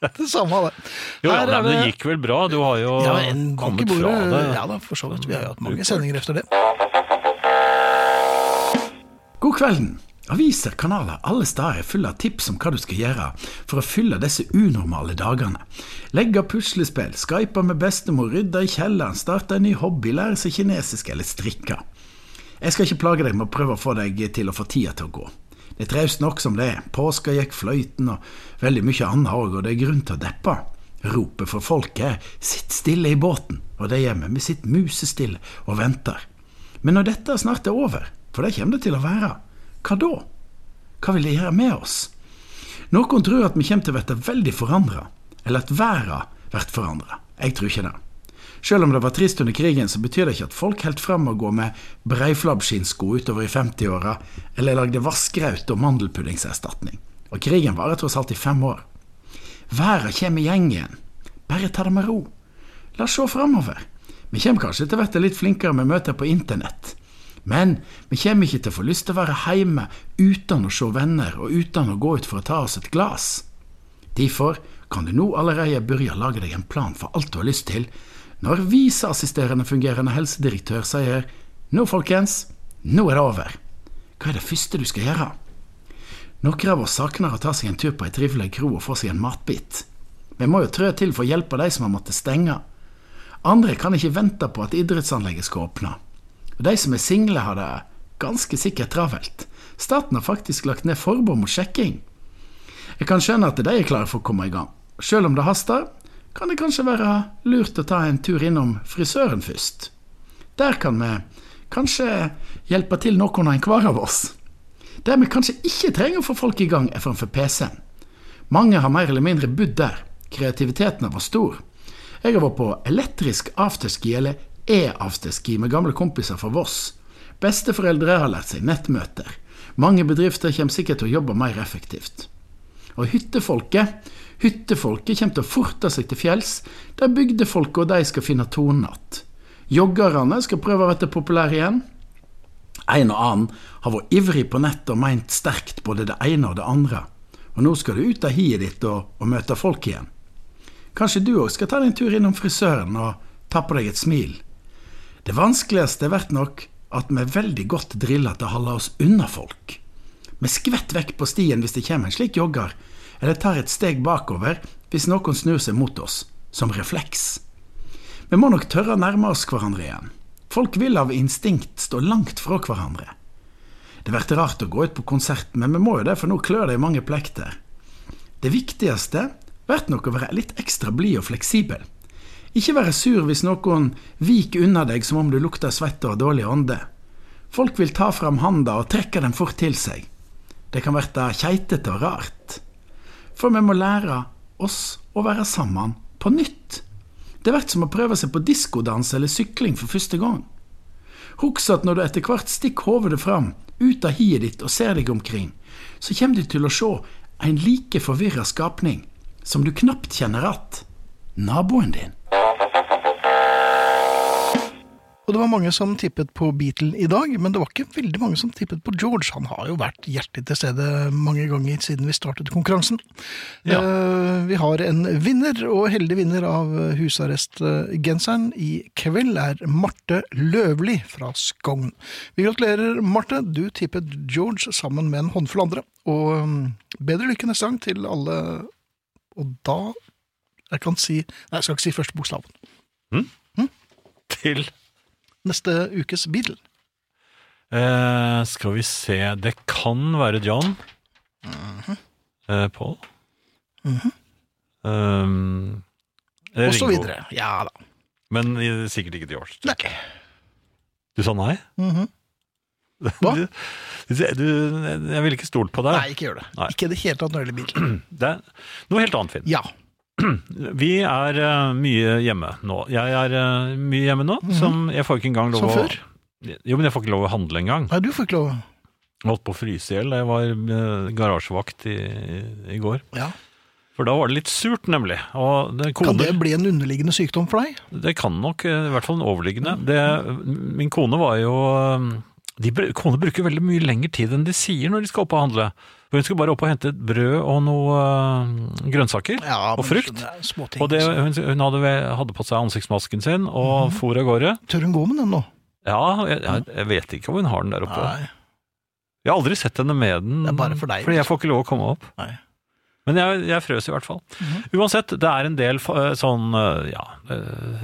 Det samme, det.
Jo, ja,
Her
nei,
er
men det
det-
gikk vel bra? Du har jo
Ja, en kokk i
kommet fra
bordet.
det.
Ja da, for så vidt. Vi har jo hatt mange sendinger efter det.
God kvelden. Aviser, kanaler, alle steder er fulle av tips om hva du skal gjøre for å fylle disse unormale dagene. Legge puslespill, skype med bestemor, rydde i kjelleren, starte en ny hobby, lære seg kinesisk eller strikke. Jeg skal ikke plage deg med å prøve å få deg til å få tida til å gå. Det er traust nok som det er. Påska gikk fløyten og veldig mye annet òg, og det er grunn til å deppe. Ropet for folket er 'sitt stille i båten', og det gjør vi. Vi sitter musestille og venter. Men når dette snart er over, for det kommer det til å være, hva da? Hva vil det gjøre med oss? Noen tror at vi kommer til å bli veldig forandra, eller at verden blir forandra. Jeg tror ikke det. Selv om det var trist under krigen, så betyr det ikke at folk helt fram og gå med breiflabbskinnsko utover i 50-åra, eller lagde vassgraut og mandelpuddingserstatning. Og krigen varer tross alt i fem år. Verden kommer i gjeng igjen. Bare ta det med ro. La oss se framover. Vi kommer kanskje til å bli litt flinkere med møter på internett. Men vi kommer ikke til å få lyst til å være hjemme uten å se venner og uten å gå ut for å ta oss et glass. Derfor kan du nå allerede begynne å lage deg en plan for alt du har lyst til, når viseassisterende fungerende helsedirektør sier nå, folkens, nå er det over. Hva er det første du skal gjøre? Noen av oss savner å ta seg en tur på ei trivelig kro og få seg en matbit. Vi må jo trø til for å hjelpe de som har måttet stenge. Andre kan ikke vente på at idrettsanlegget skal åpne. Og de som er single, har det ganske sikkert travelt. Staten har faktisk lagt ned forbud mot sjekking. Jeg kan skjønne at de er klare for å komme i gang. Selv om det haster, kan det kanskje være lurt å ta en tur innom frisøren først. Der kan vi kanskje hjelpe til noen av enhver av oss. Det vi kanskje ikke trenger å få folk i gang, er framfor PC-en. Mange har mer eller mindre bodd der. Kreativiteten har vært stor. Jeg har vært på elektrisk afterski, eller e-afterski, med gamle kompiser fra Voss. Besteforeldre har lært seg nettmøter. Mange bedrifter kommer sikkert til å jobbe mer effektivt. Og hyttefolket Hyttefolket kommer til å forte seg til fjells, der bygdefolket og de skal finne tonen igjen. Joggerne skal prøve å bli populære igjen. En og annen har vært ivrig på nettet og meint sterkt både det ene og det andre. og nå skal du ut av hiet ditt og, og møte folk igjen. Kanskje du òg skal ta deg en tur innom frisøren og ta på deg et smil. Det vanskeligste blir nok at vi er veldig godt drilla til å holde oss unna folk. Vi skvetter vekk på stien hvis det kommer en slik jogger, eller tar et steg bakover hvis noen snur seg mot oss, som refleks. Vi må nok tørre å nærme oss hverandre igjen. Folk vil av instinkt stå langt fra hverandre. Det blir rart å gå ut på konsert, men vi må jo det, for nå klør det i mange plekter. Det viktigste blir nok å være litt ekstra blid og fleksibel. Ikke være sur hvis noen viker unna deg som om du lukter svette og har dårlig ånde. Folk vil ta fram handa og trekke den fort til seg. Det kan verte keitete og rart. For vi må lære oss å være sammen på nytt. Det blir som å prøve seg på diskodans eller sykling for første gang. Husk at når du etter hvert stikker hovedet fram ut av hiet ditt og ser deg omkring, så kommer du til å se en like forvirra skapning som du knapt kjenner att. Naboen din.
Og det var mange som tippet på Beatle i dag, men det var ikke veldig mange som tippet på George. Han har jo vært hjertelig til stede mange ganger siden vi startet konkurransen.
Ja.
Eh, vi har en vinner, og heldig vinner av husarrestgenseren i kveld er Marte Løvli fra Skogn. Vi gratulerer, Marte. Du tippet George sammen med en håndfull andre. Og mm, bedre lykke neste gang til alle. Og da Jeg kan si Nei, jeg skal ikke si første bokstaven.
Til
Neste ukes Beatle.
eh, Skal vi se Det kan være John.
Mhm.
eh, Paul. Um, eller
Og så
Ringo.
videre. Ja da.
Men i- sikkert ikke George.
Nei.
Du sa nei?
Mhm. Hva?
Du, du, jeg ville ikke stolt på deg.
Nei, ikke gjør det.
Nei.
Ikke i det hele tatt når det gjelder bil.
Det er noe helt annet, Finn.
Ja.
Vi er eh, mye hjemme nå. Jeg er eh, mye hjemme nå, som jeg får ikke engang lov
Mhm. Som
å
før?
Jo, men jeg får ikke lov å handle engang.
Nei, du får ikke lov.
Jeg holdt på å fryse i hjel da jeg var eh, garasjevakt i, i går.
Ja.
For da var det litt surt, nemlig. Og det,
Kan det
koner,
bli en underliggende sykdom for deg?
det kan nok, eh, i hvert fall en overliggende. Det, min kone var jo eh, de, br- Kone bruker veldig mye lengre tid enn de sier når de skal opp og handle. For hun skal bare opp og hente et brød og noe eh, grønnsaker og
men
frukt.
skjønner jeg, Småting.
Og det, hun, hun hadde, ve- hadde på seg ansiktsmasken sin
Mhm.
og for av gårde.
Tør hun gå med den nå?
Ja, jeg, jeg- jeg vet ikke om hun har den der oppe.
Nei.
Jeg har aldri sett henne med den,
Det er bare for deg, liksom.
fordi jeg får ikke lov å komme opp.
Nei. Mhm.
Men jeg, jeg frøs i hvert fall. Uansett, det er en del fa- sånn, eh, ja, eh,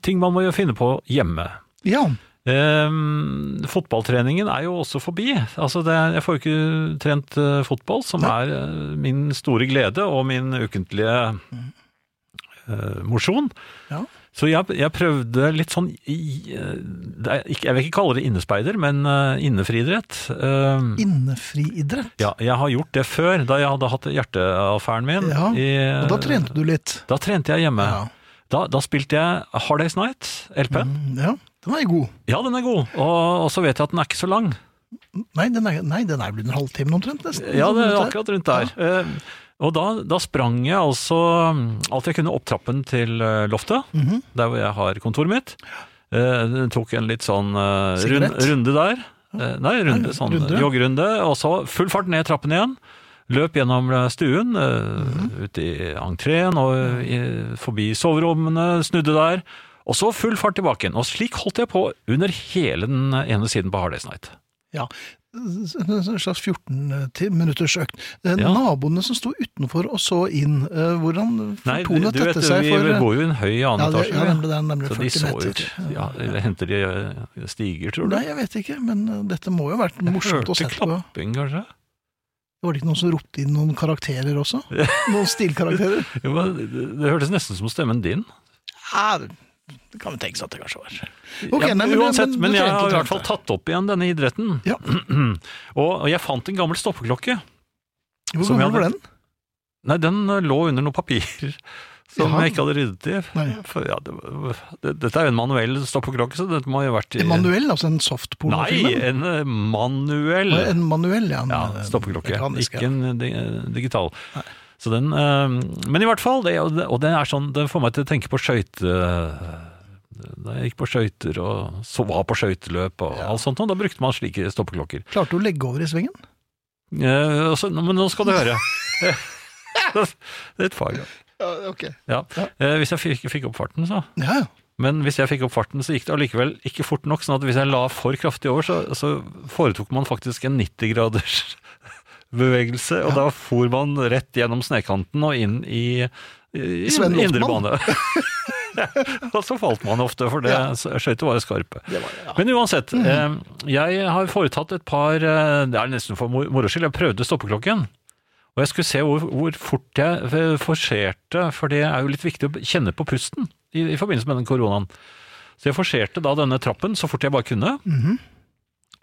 ting man må jo finne på hjemme.
Ja.
Ehm, fotballtreningen er jo også forbi. Altså det, jeg får jo ikke trent eh, fotball, som er eh, min store glede og min ukentlige eh, mosjon.
Ja.
Så jeg, jeg prøvde litt sånn i, eh, det er ikke- Jeg vil ikke kalle det innespeider, men eh, innefriidrett. Ehm,
Innefriidrett.
ja, jeg har gjort det før, da jeg hadde hatt hjerteaffæren min.
Ja,
i-
Og da trente du litt.
Da trente jeg hjemme.
Ja.
Da, da spilte jeg Hard Days Night, LP-en.
Mm, ja. Den er god.
Ja, den er god, og, og så vet jeg at den er ikke så lang.
Nei, den er, nei, den er blitt en halvtime omtrent, nesten.
Ja, det er
Sånn
akkurat rundt der. Eh, Og da, da sprang jeg altså mm, alt jeg kunne opp trappen til eh, loftet,
Mhm.
der hvor jeg har kontoret mitt. Eh, den tok en litt sånn eh, rund,
Sigarett?
runde der. Eh, nei, runde,
Nei,
sånn
runde, ja.
joggerunde. Og så full fart ned trappen igjen. Løp gjennom eh, stuen, eh,
Mhm.
ut i entreen og i, forbi soverommene, snudde der. Og så full fart tilbake igjen. Og slik holdt jeg på under hele den ene siden på Hard Days Night.
Ja. En slags 14 minutters økt. Eh,
Ja.
Naboene som sto utenfor og så inn, eh, hvordan
Nei, du,
fortonet
du vet,
dette seg
vi
for
bor jo i en høy annen
ja, det,
etasje.
ja,
vi.
nemlig, det er nemlig
så de
40
så
meter.
ut. Ja, eller henter de eh, stiger, tror du?
Nei, jeg vet ikke, men eh, dette må jo ha vært morsomt å se
Hørte
på.
klapping, kanskje?
Var det ikke noen som ropte inn noen karakterer også? Noen stilkarakterer?
Jo, men det, det hørtes nesten som stemmen din.
Ja, det kan jo tenkes at det kanskje var. Ok,
Ja,
nei, men-
uansett,
men
men,
du
jeg
trente og
har i hvert fall
trente.
tatt opp igjen denne idretten.
Ja.
og, og jeg fant en gammel stoppeklokke.
Hvor
Som jeg
gammel var
hadde-
den?
Nei, den eh, lå under noen papirer som
Jaha.
jeg ikke hadde ryddet i.
Nei.
For, ja, det, var- det, dette er jo en manuell stoppeklokke, så dette må jo ha vært i
Emanuel, altså en softpornofilm?
Nei, en eh, manuell.
Var det En manuell, ja. en,
Ja,
eh,
stoppeklokke.
mekanisk, ja.
Ikke en eh, di digital. Så den, eh, men i hvert fall, det, og det- og det er sånn, det får meg til å tenke på skøyte... Da jeg gikk på skøyter og så var på skøyteløp og alt sånt, og da brukte man slike stoppeklokker.
Klarte du å legge over i svingen?
Eh, og så- men nå skal du høre. Det er et fag, ja.
Ja, ok.
ja. Eh, Hvis jeg fikk, fikk opp farten, så.
Ja, ja.
Men hvis jeg fikk opp farten, så gikk det allikevel ikke fort nok. sånn at hvis jeg la for kraftig over, så, så foretok man faktisk en 90-graders bevegelse, og da for man rett gjennom snekanten og inn i, i, i
Sven Loftmann.
indre bane. Ja, og så falt man ofte, for det skøytet var jo skarpe. Men uansett,
Mm.
eh, jeg har foretatt et par eh, Det er nesten for mor- moro skyld, jeg prøvde stoppeklokken. Og jeg skulle se hvor, hvor fort jeg eh, forserte, for det er jo litt viktig å kjenne på pusten i, i forbindelse med den koronaen. Så jeg forserte da denne trappen så fort jeg bare kunne,
Mhm.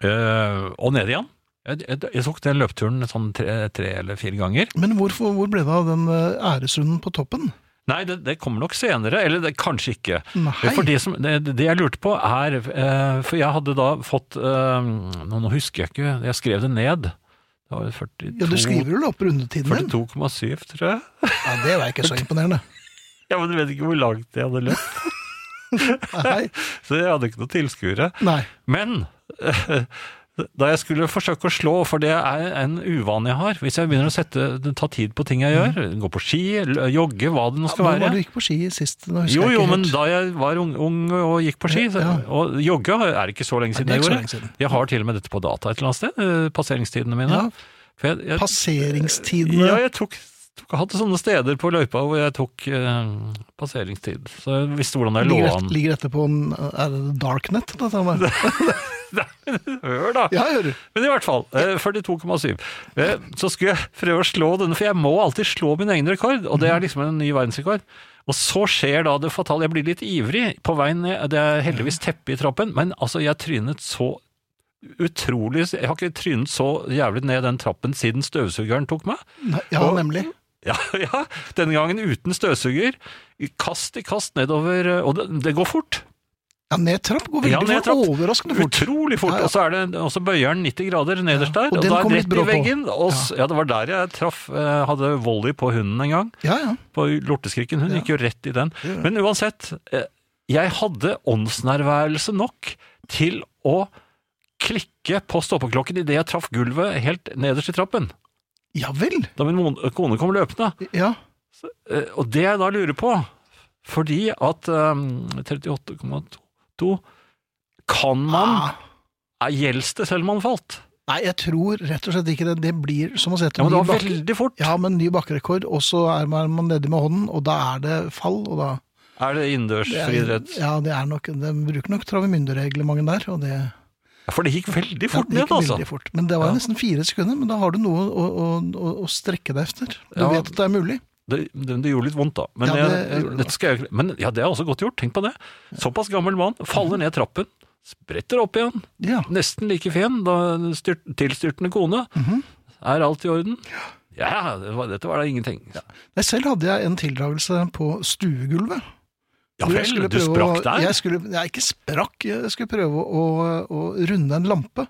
eh, og ned igjen. Jeg, jeg, jeg tok den løpeturen sånn tre, tre eller fire ganger.
Men hvorfor, hvor ble det av den eh, æresrunden på toppen?
Nei, det, det kommer nok senere, eller det, kanskje ikke.
Nei.
For det, som, det, det jeg lurte på er eh, For jeg hadde da fått eh, nå, nå husker jeg ikke, jeg skrev det ned. Det var 42
Ja, Du skriver jo opp rundetiden din.
42,7, tror jeg.
Ja, Det var ikke så imponerende.
Ja, men du vet ikke hvor langt jeg hadde løpt,
Nei.
så jeg hadde ikke noe tilskuere.
Nei.
Men da jeg skulle forsøke å slå, for det er en uvane jeg har Hvis jeg begynner å sette, ta tid på
Mm.
ting jeg gjør, gå på ski, l- jogge, hva det nå skal
Hvor
være
var du gikk på ski sist? Nå husker
Jo,
jeg
jo,
ikke
men
helt.
da jeg var ung, ung og gikk på ski så,
Ja.
Og jogge er ikke så lenge
Nei,
siden
det er
jeg
ikke så
gjorde.
lenge siden.
Jeg har til og med dette på data et eller annet sted, eh, passeringstidene mine.
Ja.
For jeg, jeg,
Passeringstidene
ja, jeg tok, tok, hadde sånne steder på løypa hvor jeg tok eh, passeringstid. Så jeg visste hvordan jeg lå
ligger,
an.
ligger dette på en, er det darknet? Dette her?
Hør, da!
Ja, jeg hører.
Men i hvert fall, eh, 42,7. Eh, Så skulle jeg prøve å slå denne, for jeg må alltid slå min egen rekord, og det er liksom en ny verdensrekord. Og så skjer da det fatale, jeg blir litt ivrig på veien ned, det er heldigvis teppe i trappen, men altså, jeg trynet så utrolig, jeg har ikke trynet så jævlig ned den trappen siden støvsugeren tok meg.
Nei, ja, nemlig.
Ja, ja, denne gangen uten støvsuger, kast i kast nedover, eh, og det, det går fort.
Ja, ned trapp går veldig
Ja, ned
fort.
trapp.
Overraskende fort.
Utrolig fort.
Ja, ja.
Og så er det, og så bøyer den 90 grader nederst der,
og
og,
den
da
kom
er
litt
rett
brå
i
på.
veggen. Og, s- ja. det var der jeg traff eh, Hadde volley på hunden en gang.
Ja, ja.
På lorteskrikken. Hun gikk jo rett i den. Men uansett, eh, jeg hadde åndsnærværelse nok til å klikke på stoppeklokken idet jeg traff gulvet helt nederst i trappen.
Ja vel.
Da min mon- kone kom løpende.
Ja.
Eh, Og det jeg da lurer på, fordi at ehm, 38,2 Kan man
Ah.
er- Gjelder det selv om man falt?
Nei, jeg tror rett og slett ikke det. Det blir som å sette
Ja, men det
ny
var
bakke.
veldig fort.
Ja, men ny bakkerekord, og så er man man nedi med hånden, og da er det fall, og da
Er det innendørs
det er-
friidrett?
Ja, det er nok De bruker nok travemyndereglementet der, og det
Ja, For det gikk veldig
Ja,
fort
det
ned,
gikk
altså.
veldig fort. Men det var
Ja.
nesten fire sekunder, men da har du noe å, å, å, å strekke deg etter. Du
Ja.
vet at det er mulig.
Det, det, det gjorde litt vondt, da. Men,
Ja,
jeg,
det gjorde
jeg,
det.
dette skal jeg, men ja, det er også godt gjort. Tenk på det. Såpass gammel mann faller ned trappen, spretter opp igjen.
Ja.
Nesten like fin da styrt, tilstyrtende kone.
Mhm.
Er alt i orden? Ja, det var, dette var da ingenting.
Nei, selv hadde jeg en tildragelse på stuegulvet.
Ja
Hvor jeg
vel,
skulle
du
prøve
sprakk
å-
der?
Jeg skulle, jeg ikke sprakk, jeg skulle prøve å, å runde en lampe.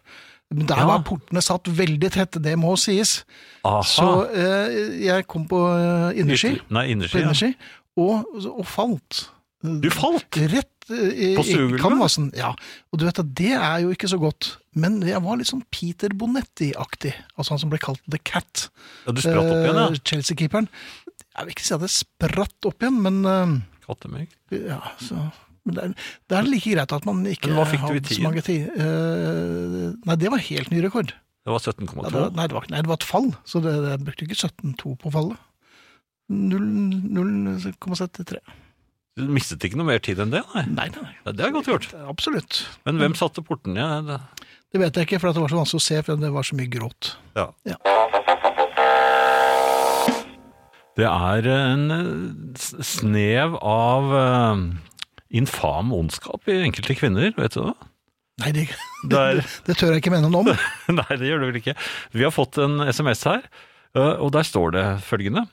Men der
Ja.
var portene satt veldig tett, det må sies.
Aha.
Så eh, jeg kom på eh, innerski,
Ytter- Nei,
på
innerski. Ja.
innerski og, og falt.
Du falt!
Rett eh, i,
På
i
stuegulvet?
kanvasen. Ja. Og du vet at det er jo ikke så godt. Men jeg var litt sånn Peter Bonetti-aktig. Altså han som ble kalt The Cat.
Ja, du spratt opp igjen,
Eh,
ja.
Chelsea-keeperen. Jeg vil ikke si at jeg spratt opp igjen, men eh,
Kattemygg.
ja, så men det er, det er like greit at man ikke
Men hva fikk du i tid?
så mange tid. Eh, nei, det var helt ny rekord.
Det var
Ja, det var,
17,2.
nei, det var, ikke- nei, det var et fall, så det, det jeg brukte ikke 17,2 på fallet. Null- 0,73.
Du mistet ikke noe mer tid enn det, nei.
Nei, nei, nei.
Ja, Det er godt gjort.
Absolutt.
Men hvem satte porten igjen? Ja, det-
Det vet jeg ikke, for at det var så vanskelig å se, for det var så mye gråt.
Ja.
Ja.
Det er en eh, s- snev av eh, infam ondskap i enkelte kvinner, vet du det?
Nei, det, det,
Der.
det, det tør jeg ikke mene noe om.
Nei, det gjør det vel ikke. Vi har fått en SMS her, eh, og der står det følgende.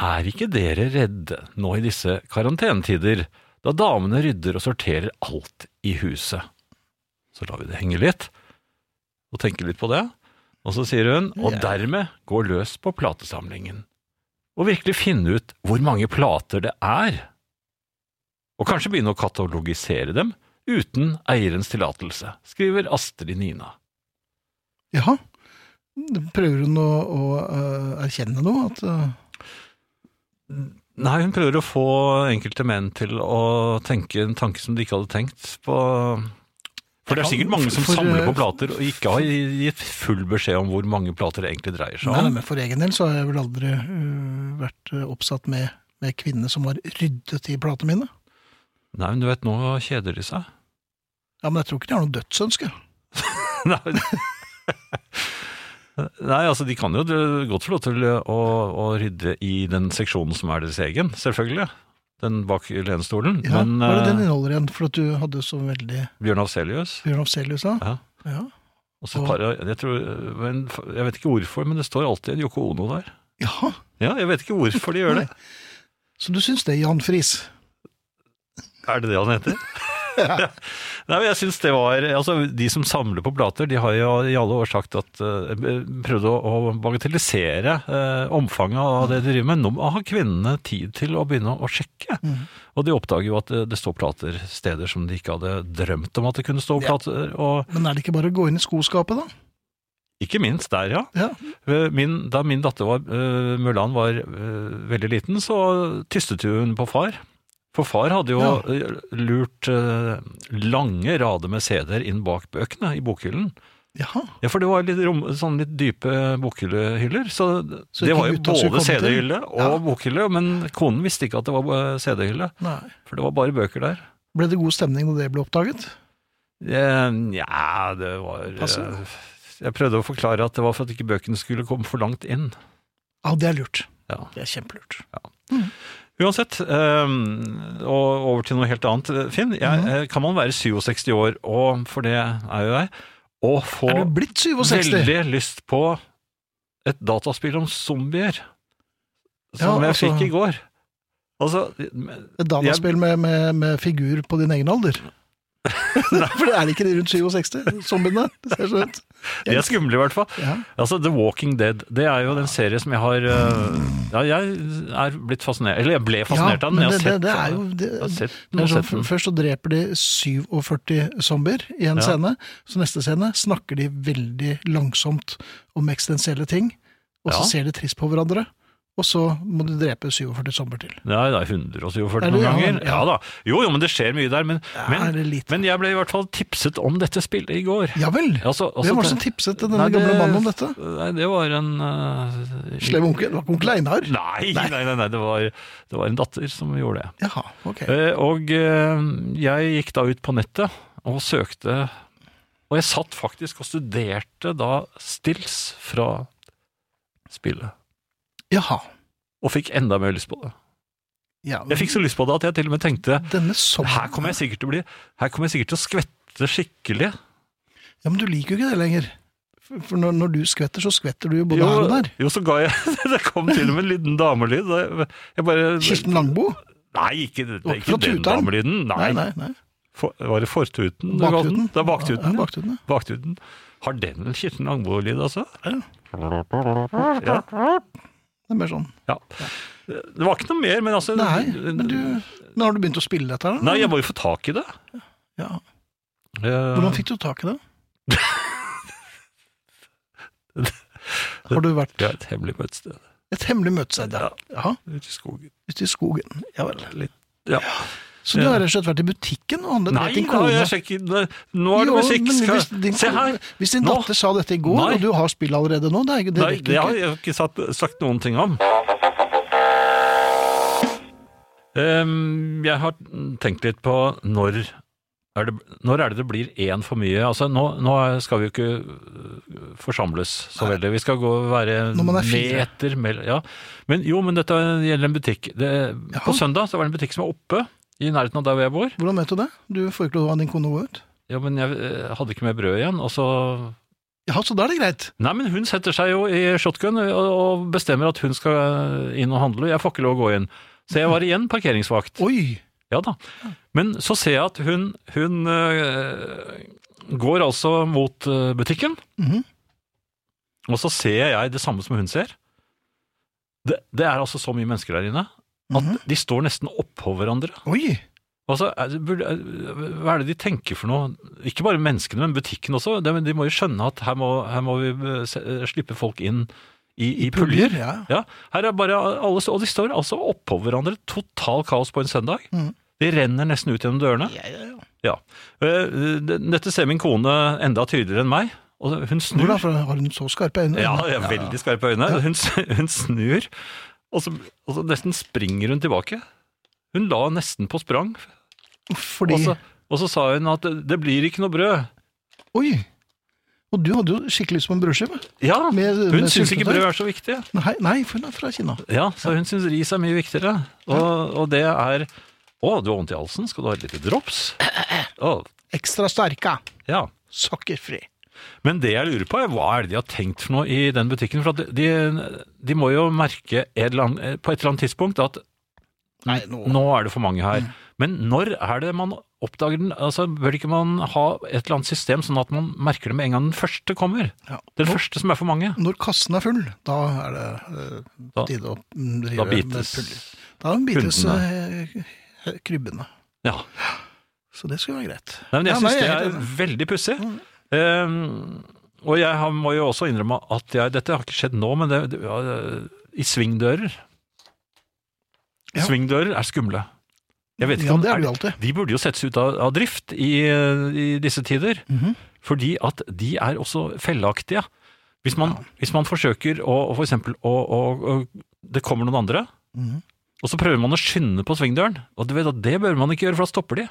Er ikke dere redde nå i disse karantenetider, da damene rydder og sorterer alt i huset? Så lar vi det henge litt, og tenker litt på det. Og så sier hun, og
Ja.
dermed gå løs på platesamlingen. Og virkelig finne ut hvor mange plater det er. Og kanskje begynne å katalogisere dem uten eierens tillatelse, skriver Astrid Nina.
Ja. Prøver hun å, å eh, erkjenne noe? At, eh,
Nei, hun prøver å få enkelte menn til å tenke en tanke som de ikke hadde tenkt på For det er sikkert mange som
For, eh,
samler på plater og ikke har gitt full beskjed om hvor mange plater det egentlig dreier seg
nei, nei,
om.
men for egen del så har jeg vel aldri eh, vært eh, oppsatt med, med kvinner som har ryddet i platene mine.
Nei, men du vet, nå kjeder de seg.
Ja, Men jeg tror ikke de har noe dødsønske.
Nei, Nei, altså de kan jo godt få lov til å, å rydde i den seksjonen som er deres egen, selvfølgelig. Den bak lenstolen.
Ja,
men
Hva er det den
eh,
inneholder igjen? For at du hadde så veldig
Bjørn Afselius
Bjørn Afselius da?
Ja.
Ja.
og så et par, av- jeg, tror, men, jeg vet ikke hvorfor, men det står alltid en Yoko Ono der.
Jaha,
Ja, jeg vet ikke hvorfor de gjør det.
så du syns det, Jan Friis?
Er det det han heter? Nei, men jeg synes det var, altså De som samler på plater, de har jo i alle år sagt at eh, prøvd å, å bagatellisere eh, omfanget av det de driver med. Nå har kvinnene tid til å begynne å sjekke. Og de oppdager jo at det, det står plater steder som de ikke hadde drømt om at det kunne stå plater. Og
Men er det ikke bare å gå inn i skoskapet, da?
ikke minst der, ja.
Ja.
Eh, Min, da min datter var, eh, Mørland var eh, veldig liten, så tystet jo hun på far. For far hadde jo
Ja.
eh, lurt eh, lange rader med CD-er inn bak bøkene i bokhyllen.
Jaha.
Ja, for det var litt, rom, sånn litt dype bokhyllehyller, så,
Så
det
ikke
var jo
gutta skulle
både
komme til?
CD-hylle og
Ja.
bokhylle, men konen visste ikke at det var eh, CD-hylle,
Nei.
for det var bare bøker der.
Ble det god stemning da det ble oppdaget?
Eh, Nja, det var eh,
Passe.
Jeg prøvde å forklare at det var for at ikke bøkene skulle komme for langt inn.
Ja, det er lurt.
Ja.
Det er kjempelurt.
Uansett, ehm, og over til noe helt annet. Finn, jeg,
Mhm.
eh, kan man være 67 år, og for det er jo jeg, og få
er du blitt 67?
veldig lyst på et dataspill om zombier? Som
Ja,
jeg
altså-
fikk i går. Altså, men-
Et dataspill med, med, med figur på din egen alder? For det er det ikke de rundt 67, zombiene. Det ser sånn ut.
de er skumle i hvert fall.
Ja.
Altså, The Walking Dead, det er jo den serie som jeg har eh, Ja, jeg er blitt fascinert Eller jeg ble fascinert av den.
men
Jeg har
det, det,
sett-
det er jo det,
jeg har sett den
det
og
er sånn,
sett den.
f- Først så dreper de 47 zombier i en
Ja.
scene, så neste scene snakker de veldig langsomt om eksistensielle ting, og så
Ja.
ser de trist på hverandre, og så må de drepe 47 zombier til.
Nei, det er 147
Er det-
noen
ja,
ganger. Ja
ja.
da. Jo, jo, men det skjer mye der. Men,
er det
men,
lite?
men jeg ble i hvert fall tipset om dette spillet i går.
Ja vel!
Altså- altså,
Hvem var det
det-
som tipset denne
Nei, det-
gamle mannen om dette?
Nei, det var en eh,
Slem onkel? Det var ikke onkel Einar?
Nei, nei, nei, nei det, var, det var en datter som gjorde det.
Jaha, ok.
Eh, Og eh, jeg gikk da ut på nettet og søkte Og jeg satt faktisk og studerte da stills fra spillet.
Jaha.
Og fikk enda mer lyst på det.
Ja,
Jeg fikk så lyst på det at jeg til og med tenkte
Denne sommeren
her kommer jeg sikkert til å bli Her kommer jeg sikkert til å skvette skikkelig.
Ja, men du liker jo ikke det lenger. For for når, når du skvetter, så skvetter du jo både
jo,
her og der.
Jo, så ga jeg Det kom til og med en liten damelyd. da Jeg jeg bare
Kirsten Langbo?
Nei, ikke, det er
Fra
ikke den
tuteren?
damelyden. Nei,
Nei, nei. nei.
For, var det fortuten? du kalte
Baktuten?
den? Det er baktuten.
Ja,
Ja,
baktuten, ja.
baktuten. Har den en Kirsten Langbo-lyd, altså?
Det er mer sånn.
Ja. Det var ikke noe mer, men altså
Nei, men du Men har du begynt å spille dette her, da?
Nei, jeg må jo få tak i det.
Ja.
Eh,
Hvordan fikk du tak i det? Har du vært
Det er et hemmelig møtested
et hemmelig møtested? Ja. ja.
ute i skogen.
Ute i skogen. Ja vel.
Litt. Ja.
Så du har rett og slett vært i butikken og handlet
Nei,
ned til
da,
kone?
jeg sjekker det. Nå er det
Jo,
musikk.
men
Skal...
hvis din,
Se her!
Hvis din
Nå.
datter sa dette i går,
Nei.
og du har spill allerede nå, det, er, det
Nei,
rekker
det
ikke.
har jeg ikke sagt, sagt noen ting om. Ehm, jeg har tenkt litt på når er det, når er det det blir én for mye? Altså, nå, nå er- skal vi jo ikke øh, forsamles så veldig. Vi skal gå og være
Når man er fire.
meter mellom ja. men, Jo, men dette gjelder en butikk. Det, på søndag så var det en butikk som var oppe i nærheten av der hvor jeg bor.
Hvordan vet du det? Du får ikke lov av din kone å gå ut?
Ja, men jeg øh, hadde ikke med brød igjen, og så
Ja, så da er det greit.
Nei, men hun setter seg jo i shotgun og- og bestemmer at hun skal inn og handle. Jeg får ikke lov å gå inn. Så jeg var igjen parkeringsvakt.
Oi!
Ja da. Men så ser jeg at hun, hun øh, går altså mot øh, butikken.
Mhm.
Og så ser jeg det samme som hun ser. Det, det er altså så mye mennesker der inne at
Mhm.
de står nesten oppå hverandre.
Oi!
Altså, er det- burde- er- hva er det de tenker for noe? Ikke bare menneskene, men butikken også. De, de må jo skjønne at her må, her må vi eh, se- eh, slippe folk inn i, i puljer.
ja.
Ja, her er bare alle, Og de står altså oppå hverandre. Total kaos på en søndag. De renner nesten ut gjennom dørene.
Mm. Ja, ja, ja.
Ja. Eh, det- Dette ser min kone enda tydeligere enn meg. Og hun snur.
Hvor da, for har hun så skarpe øyne?
Ja, jeg har veldig skarpe øyne. Hun, s- hun snur, og så, og så nesten springer hun tilbake. Hun la nesten på sprang,
Fordi
og så, og så sa hun at det blir ikke noe brød.
Oi! Og du hadde jo skikkelig lyst på en brødskive.
Ja,
Med-
hun
med
syns ikke
syltetøy.
brød er så viktig.
Nei, nei, for hun er fra Kina.
Ja, så hun syns ris er mye viktigere. Og, og det er Å, du har vondt i halsen? Skal du ha et lite drops? Å,
Ekstra sterke.
ja.
Sukkerfri.
Men det jeg lurer på, er hva er det de har tenkt for noe i den butikken? For at de, de må jo merke et eller annet, eh, på et eller annet tidspunkt at
Nei, nå
nå er det for mange her.
Mm.
Men når er det man oppdager den? Altså, bør ikke man ha et eller annet system sånn at man merker det med en gang den første kommer?
Ja.
Den første som er for mange?
Når kassen er full, da er det eh,
Da-
på tide å mm, drive
Da
med
bites
puller. Da bites eh, krybbene.
Ja.
Så det skulle være greit.
Nei, men jeg
Ja,
syns
nei,
det
jeg er
er
helt
veldig pussig. Ehm, og jeg har, må jo også innrømme at jeg Dette har ikke skjedd nå, men det, det, ja, i svingdører
Ja.
Svingdører er skumle. Jeg vet ikke
ja,
om
det er
er-
du alltid.
De burde jo settes ut av, av drift i, i disse tider,
Mhm,
fordi at de er også felleaktige. Hvis man, hvis man forsøker å, å for eksempel, å, å, å Det kommer noen andre,
Mhm.
og så prøver man å skynde på svingdøren. Og du vet at det bør man ikke gjøre, for da stopper de.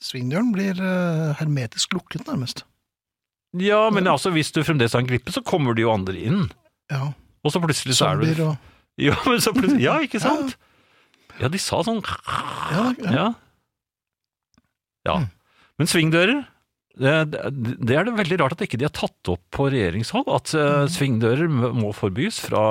Svingdøren blir eh, hermetisk lukket, nærmest.
Ja, men altså, hvis du fremdeles har en glippe, så kommer det jo andre inn.
Ja,
Og så plutselig så er
Zombier
du
og
Ja, men så plutselig, ja ikke sant? Ja, de sa sånn
ja, ja. Mm.
Ja. ja. Men svingdører, det, det er det veldig rart at ikke de har tatt opp på regjeringshold, at
Mm.
eh, svingdører må forbys fra,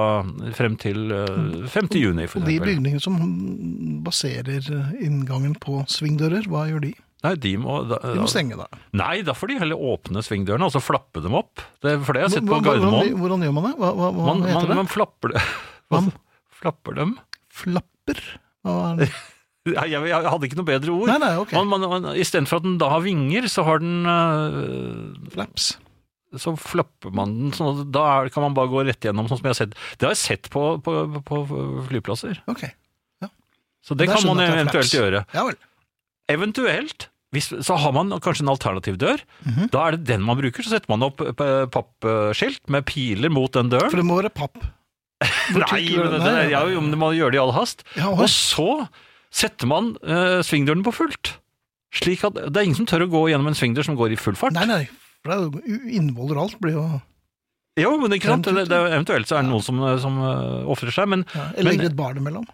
frem til eh, 5. juni, for
Mm. Og de
eksempel.
bygningene som mm, baserer inngangen på svingdører, hva gjør de?
Nei, de må, da,
De må stenge, da.
Nei, da får de heller åpne svingdørene, og så flappe dem opp. Det, for det har jeg sett på
Hvordan-
Gardermoen.
Hvordan, hvordan gjør man det? Hva, hva, hva
Man, man,
heter det?
man flapper det.
Man-
Flapper dem?
Flapper? Hva er det?
Nei, Jeg, jeg hadde ikke noe bedre ord.
Nei, nei, ok.
Man, man, man, Istedenfor at den da har vinger, så har den eh,
Flaps.
så flapper man den, sånn at da er- kan man bare gå rett gjennom, sånn som jeg har sett. Det har jeg sett på, på, på flyplasser.
Ok.
Så det
Der
kan man
skjønner jeg at det er
eventuelt
flaps.
gjøre.
Ja vel.
Eventuelt, hvis, så har man kanskje en alternativ dør.
Mhm.
Da er det den man bruker, så setter man opp eh, pappskilt med piler mot den døren.
For det må være papp.
Nei,
tykker du-
men det,
Nei,
det, ja, jo, men man gjør det i all hast.
Ja, og-
Og så setter man eh, svingdøren på fullt. Slik at det er ingen som tør å gå gjennom en svingdør som går i full fart.
Nei, nei. For det er jo- u- innvoller og alt blir jo
Jo, men ikke sant? Det, det, eventuelt så er det noen som, som eh, ofrer seg, men
ja, Eller
Men-
legger et barn imellom.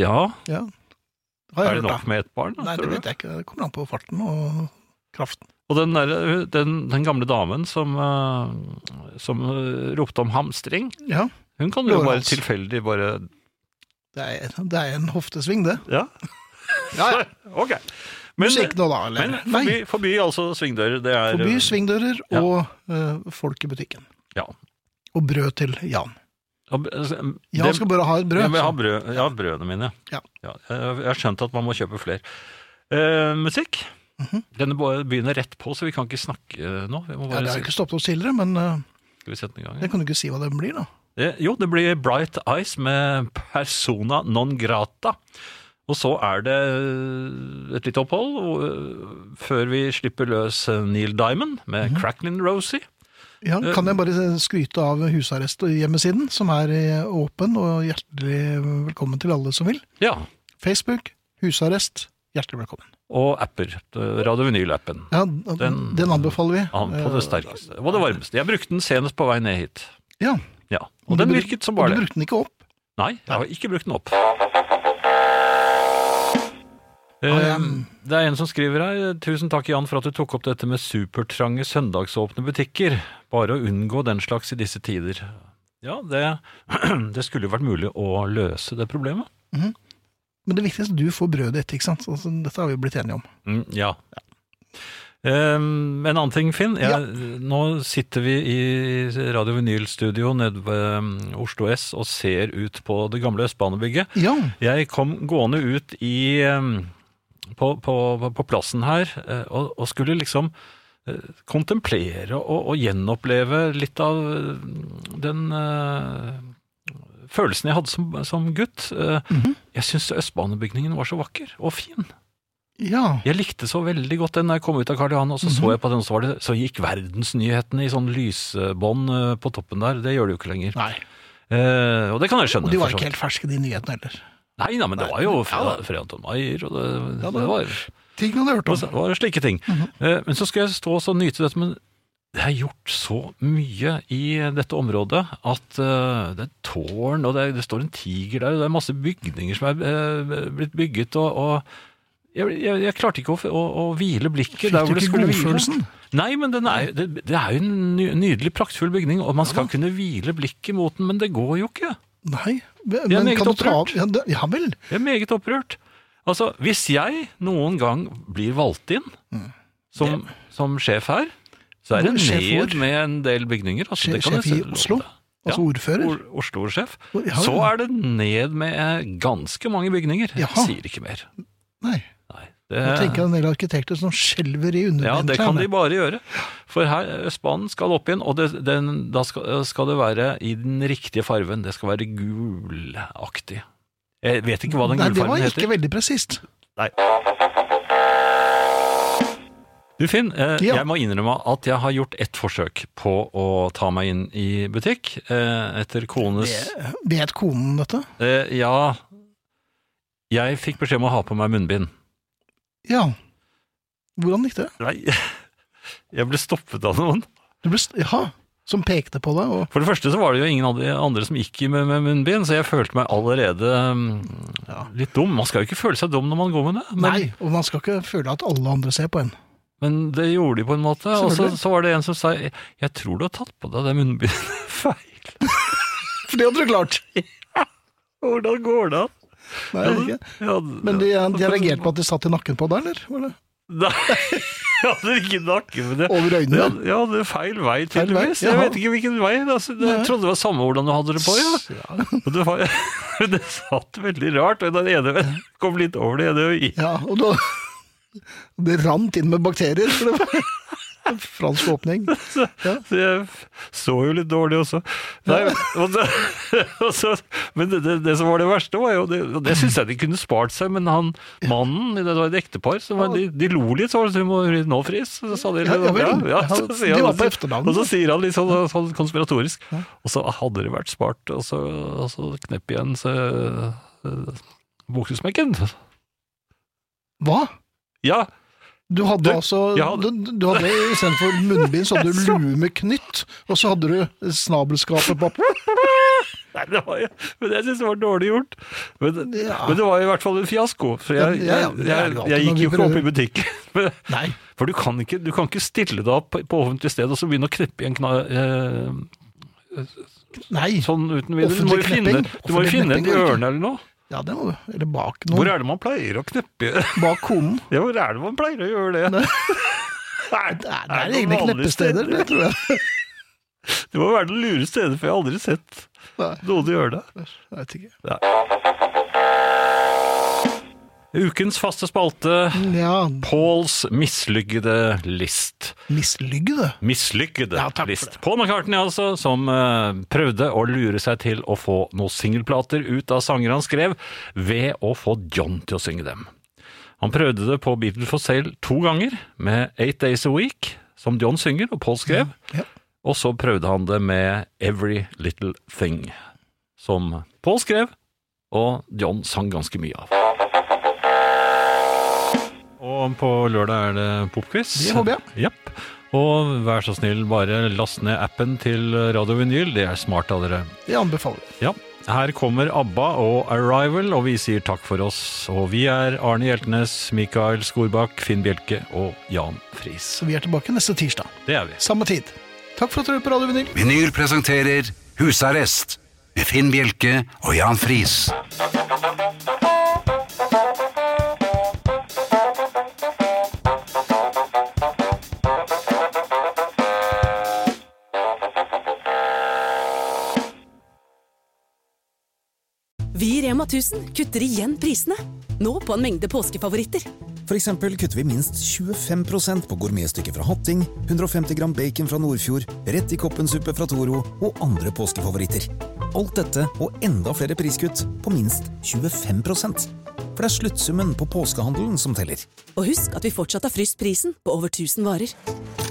ja,
Ja. Har jeg
er det
hørt,
nok med ett barn?
da.
da,
Nei,
tror
det
du?
vet jeg ikke. Det kommer an på farten og kraften.
Og den, der, eh, den, den gamle damen som, eh, som eh, ropte om hamstring,
Ja.
hun kan jo bare
Lårhals.
tilfeldig bare
Det er, det er en hoftesving, det.
Ja,
Ja, ja.
ok. Men,
Musikk nå, da. Eller?
men forby,
nei.
forby altså svingdører. Det er eh,
Forby svingdører
Ja.
og eh, folk i butikken.
Ja.
Og brød til Jan.
Og, eh,
Jan
det-
skal bare ha et brød.
Jeg vil ha
så-
brød, ja, brødene mine.
Ja.
jeg har skjønt at man må kjøpe flere. Eh, musikk. Denne bo- begynner rett på, så vi kan ikke snakke eh, nå. Vi må
Mhm. Ja,
bare
det har
si-
jo ikke stoppet oss tidligere, men eh,
skal vi sette den i gang.
jeg kan jo ikke si hva den blir, da.
Eh, jo, det blir Bright Eyes med Persona non grata. Og så er det eh, et lite opphold og, eh, før vi slipper løs eh, Neil Diamond med
Mhm.
Cracklin' Rosie.
Ja,
Eh,
kan jeg bare skryte av husarresthjemmesiden, som er eh, åpen og hjertelig velkommen til alle som vil.
Ja,
Facebook, husarrest, hjertelig velkommen.
og apper. eh, Radio Vinyl-appen.
Ja, den, den anbefaler vi. Eh,
An på det sterkeste. Og det varmeste. Jeg brukte den senest på vei ned hit.
Ja.
Ja, Og den
Du bruk- Ah,
virket som bare
Du
det.
brukte den ikke opp.
Nei, jeg har ikke brukt den opp.
ja.
Um, Det er en som skriver her. Tusen takk, Jan, for at du tok opp dette med supertrange søndagsåpne butikker. Bare å unngå den slags i disse tider. Ja, det, det skulle jo vært mulig å løse det problemet.
Men det viktigste er at du får brødet ditt, ikke sant? Altså, dette har vi blitt enige om.
Mm, ja. Um, Mm, en annen ting, Finn. Jeg, Nå sitter vi i Radio Vinyl-studio nede ved um, Oslo S og ser ut på det gamle Østbanebygget.
Ja.
Jeg kom gående ut i um, på, på, på plassen her eh, og, og skulle liksom eh, kontemplere og, og gjenoppleve litt av eh, den eh, følelsen jeg hadde som, som gutt. Eh, Jeg syns Østbanebygningen var så vakker og fin.
ja.
Jeg likte så veldig godt den da jeg kom ut av Karl Johan, og så
Mhm.
så jeg på den, og så, var det, så gikk verdensnyhetene i sånn lysbånd eh, på toppen der. Det gjør det jo ikke lenger.
Nei.
Eh, og det kan jeg skjønne.
Og de
for
var
så
ikke
vidt.
helt ferske, de nyhetene heller.
Nei, nei, men det var jo Fred, Fred Anton Maier, og det,
Ja,
det
det-
var
Ting man hadde hørt om.
og
Mhm.
så var det slike ting. Eh, Men så skal jeg stå og så nyte dette, men det er gjort så mye i eh, dette området at eh, det er tårn, og det, er, det står en tiger der, og det er masse bygninger som er eh, blitt bygget, og, og jeg, jeg, jeg klarte ikke å, å, å hvile blikket
Fikk
der
du
hvor det
ikke
skulle hvile.
godfølelsen?
Nei, men den er, det, det er jo en ny- nydelig, praktfull bygning, og man skal kunne hvile blikket mot den, men det går jo ikke.
Nei. Men
Jeg er meget
kan du ta
opprørt.
ja, det- ja vel.
Jeg er meget opprørt. Altså, hvis jeg noen gang blir valgt inn som, som sjef her, så er det
Hvor- sjef
ned
hvor?
med en del bygninger. Altså, det
Sjef
kan jeg
i
selv love
Oslo?
deg.
Altså ordfører?
Or- Oslo-sjef.
Hvor- ja,
Så
ja.
er det ned med ganske mange bygninger.
Jaha.
Jeg sier ikke mer.
Nei.
Nei,
Nå
det,
tenker jeg en del arkitekter som skjelver i
ja, det kan de
underbenklærne.
bare gjøre. For her, Østbanen skal opp igjen, og det, den, da skal, skal det være i den riktige farven. Det skal være gulaktig. Jeg vet ikke hva den
Nei, det var
gulfarven heter.
ikke veldig presist.
Du Finn, eh,
Ja.
jeg må innrømme at jeg har gjort ett forsøk på å ta meg inn i butikk eh, etter kones
Vet konen dette?
eh, Ja, jeg fikk beskjed om å ha på meg munnbind.
Ja. Hvordan gikk det?
Nei, jeg ble stoppet av noen.
Du ble st ja, som pekte på deg, og
For det første så var det jo ingen andre- andre som gikk i med, med munnbind, så jeg følte meg allerede mm, litt dum. Man skal jo ikke føle seg dum når man går med det. men-
Nei, og man skal ikke føle at alle andre ser på en.
Men det gjorde de på en måte. Og så,
Selvfølgelig.
så var det en som sa Jeg tror du har tatt på deg det munnbindet feil.
For det hadde du klart!
Hvordan går det an?
Nei, jeg vet ikke.
Ja,
Men de, de reagerte på at de satt i nakken på deg, eller? Var det?
Nei, jeg hadde ikke nakke, men det
Over øynene?
Jeg hadde, jeg hadde feil vei,
Feil vei,
tydeligvis. Jeg
jaha.
vet ikke hvilken vei. Altså, jeg trodde det var samme hvordan du hadde det på, ja. Og det, var, det satt veldig rart. og Den ene kom litt over det ene øyet.
Ja, og da Det rant inn med bakterier, for det var en fransk åpning.
Så jeg så jo litt dårlig også. Nei, og det, og så, men det, det, det som var det verste, var jo Det, og det syns jeg de kunne spart seg, men han mannen Det var et ektepar. Så var, de, de lo litt sånn, så vi må nå, Fris. Så sa de, sånn,
Ja, ja vel.
så
Ja,
sier
de var
han-
på efternavn.
Og så sier han litt sånn, sånn konspiratorisk. Og så hadde det vært spart, og så, og så knepp igjen så, eh, buksesmekken.
Hva?
Ja,
Du hadde
Du,
altså
jeg hadde-
Du, du hadde istedenfor munnbind, så hadde du lue med knytt, og så hadde du snabelskapet på
Nei, det var jo, men jeg synes det var dårlig gjort. Men,
Ja.
men det var i hvert fall en fiasko. For jeg,
Ja, ja,
jeg,
det er
jeg,
det alltid
jeg
når
gikk
vi
jo ikke opp i
prøver.
butikken. Men-
Nei.
For du kan, ikke, du kan ikke stille deg opp på offentlig sted og så begynne å kneppe i en kna... Eh,
Nei.
sånn uten videre. Du må
Offentlig
jo finne,
knepping.
du må jo
Offentlig
finne et
knepping går ikke.
hjørne eller noe.
Ja, det må du. Eller bak
Hvor
noen.
er det man pleier å kneppe? Ja,
Bak konen.
hvor er det man pleier å gjøre det? Er-
Det er, det
er
er
det noen
egne
vanlige
kneppesteder, det tror jeg.
Det må være det lure stedet, for jeg har aldri sett
Nei,
noen gjøre det.
jeg vet ikke.
Ukens faste spalte,
Ja,
Pauls mislykkede list.
mislygge, det.
mislykkede
Ja, takk for
list. Paul McCartney, altså, som eh, prøvde å lure seg til å få noen singelplater ut av sanger han skrev, ved å få John til å synge dem. Han prøvde det på Beatles for Sale to ganger, med Eight Days a Week, som John synger, og Paul skrev.
Ja.
Og så prøvde han det med Every Little Thing, som Paul skrev, og John sang ganske mye av. Og på lørdag er det popquiz.
Det håper
jeg. Japp. Og vær så snill, bare last ned appen til Radio Vinyl. Det er smart av dere.
Det anbefaler jeg.
Ja. Her kommer ABBA og Arrival, og vi sier takk for oss. Og vi er Arne Hjeltnes, Mikael Skorbakk, Finn Bjelke og Jan Friis.
Så vi er tilbake neste tirsdag.
Det er vi.
Samme tid. Takk for at du hører på Radio Vinyl.
Vinyl presenterer Husarrest med Finn Bjelke og Jan Friis.
Rema 1000 kutter igjen prisene. Nå på en mengde påskefavoritter.
For eksempel kutter vi minst 25 på gourmetstykket fra Hatting, 150 gram bacon fra Nordfjord, rett i koppensuppe fra Toro og andre påskefavoritter. Alt dette og enda flere priskutt på minst 25 For det er sluttsummen på påskehandelen som teller.
Og husk at vi fortsatt har fryst prisen på over 1000 varer.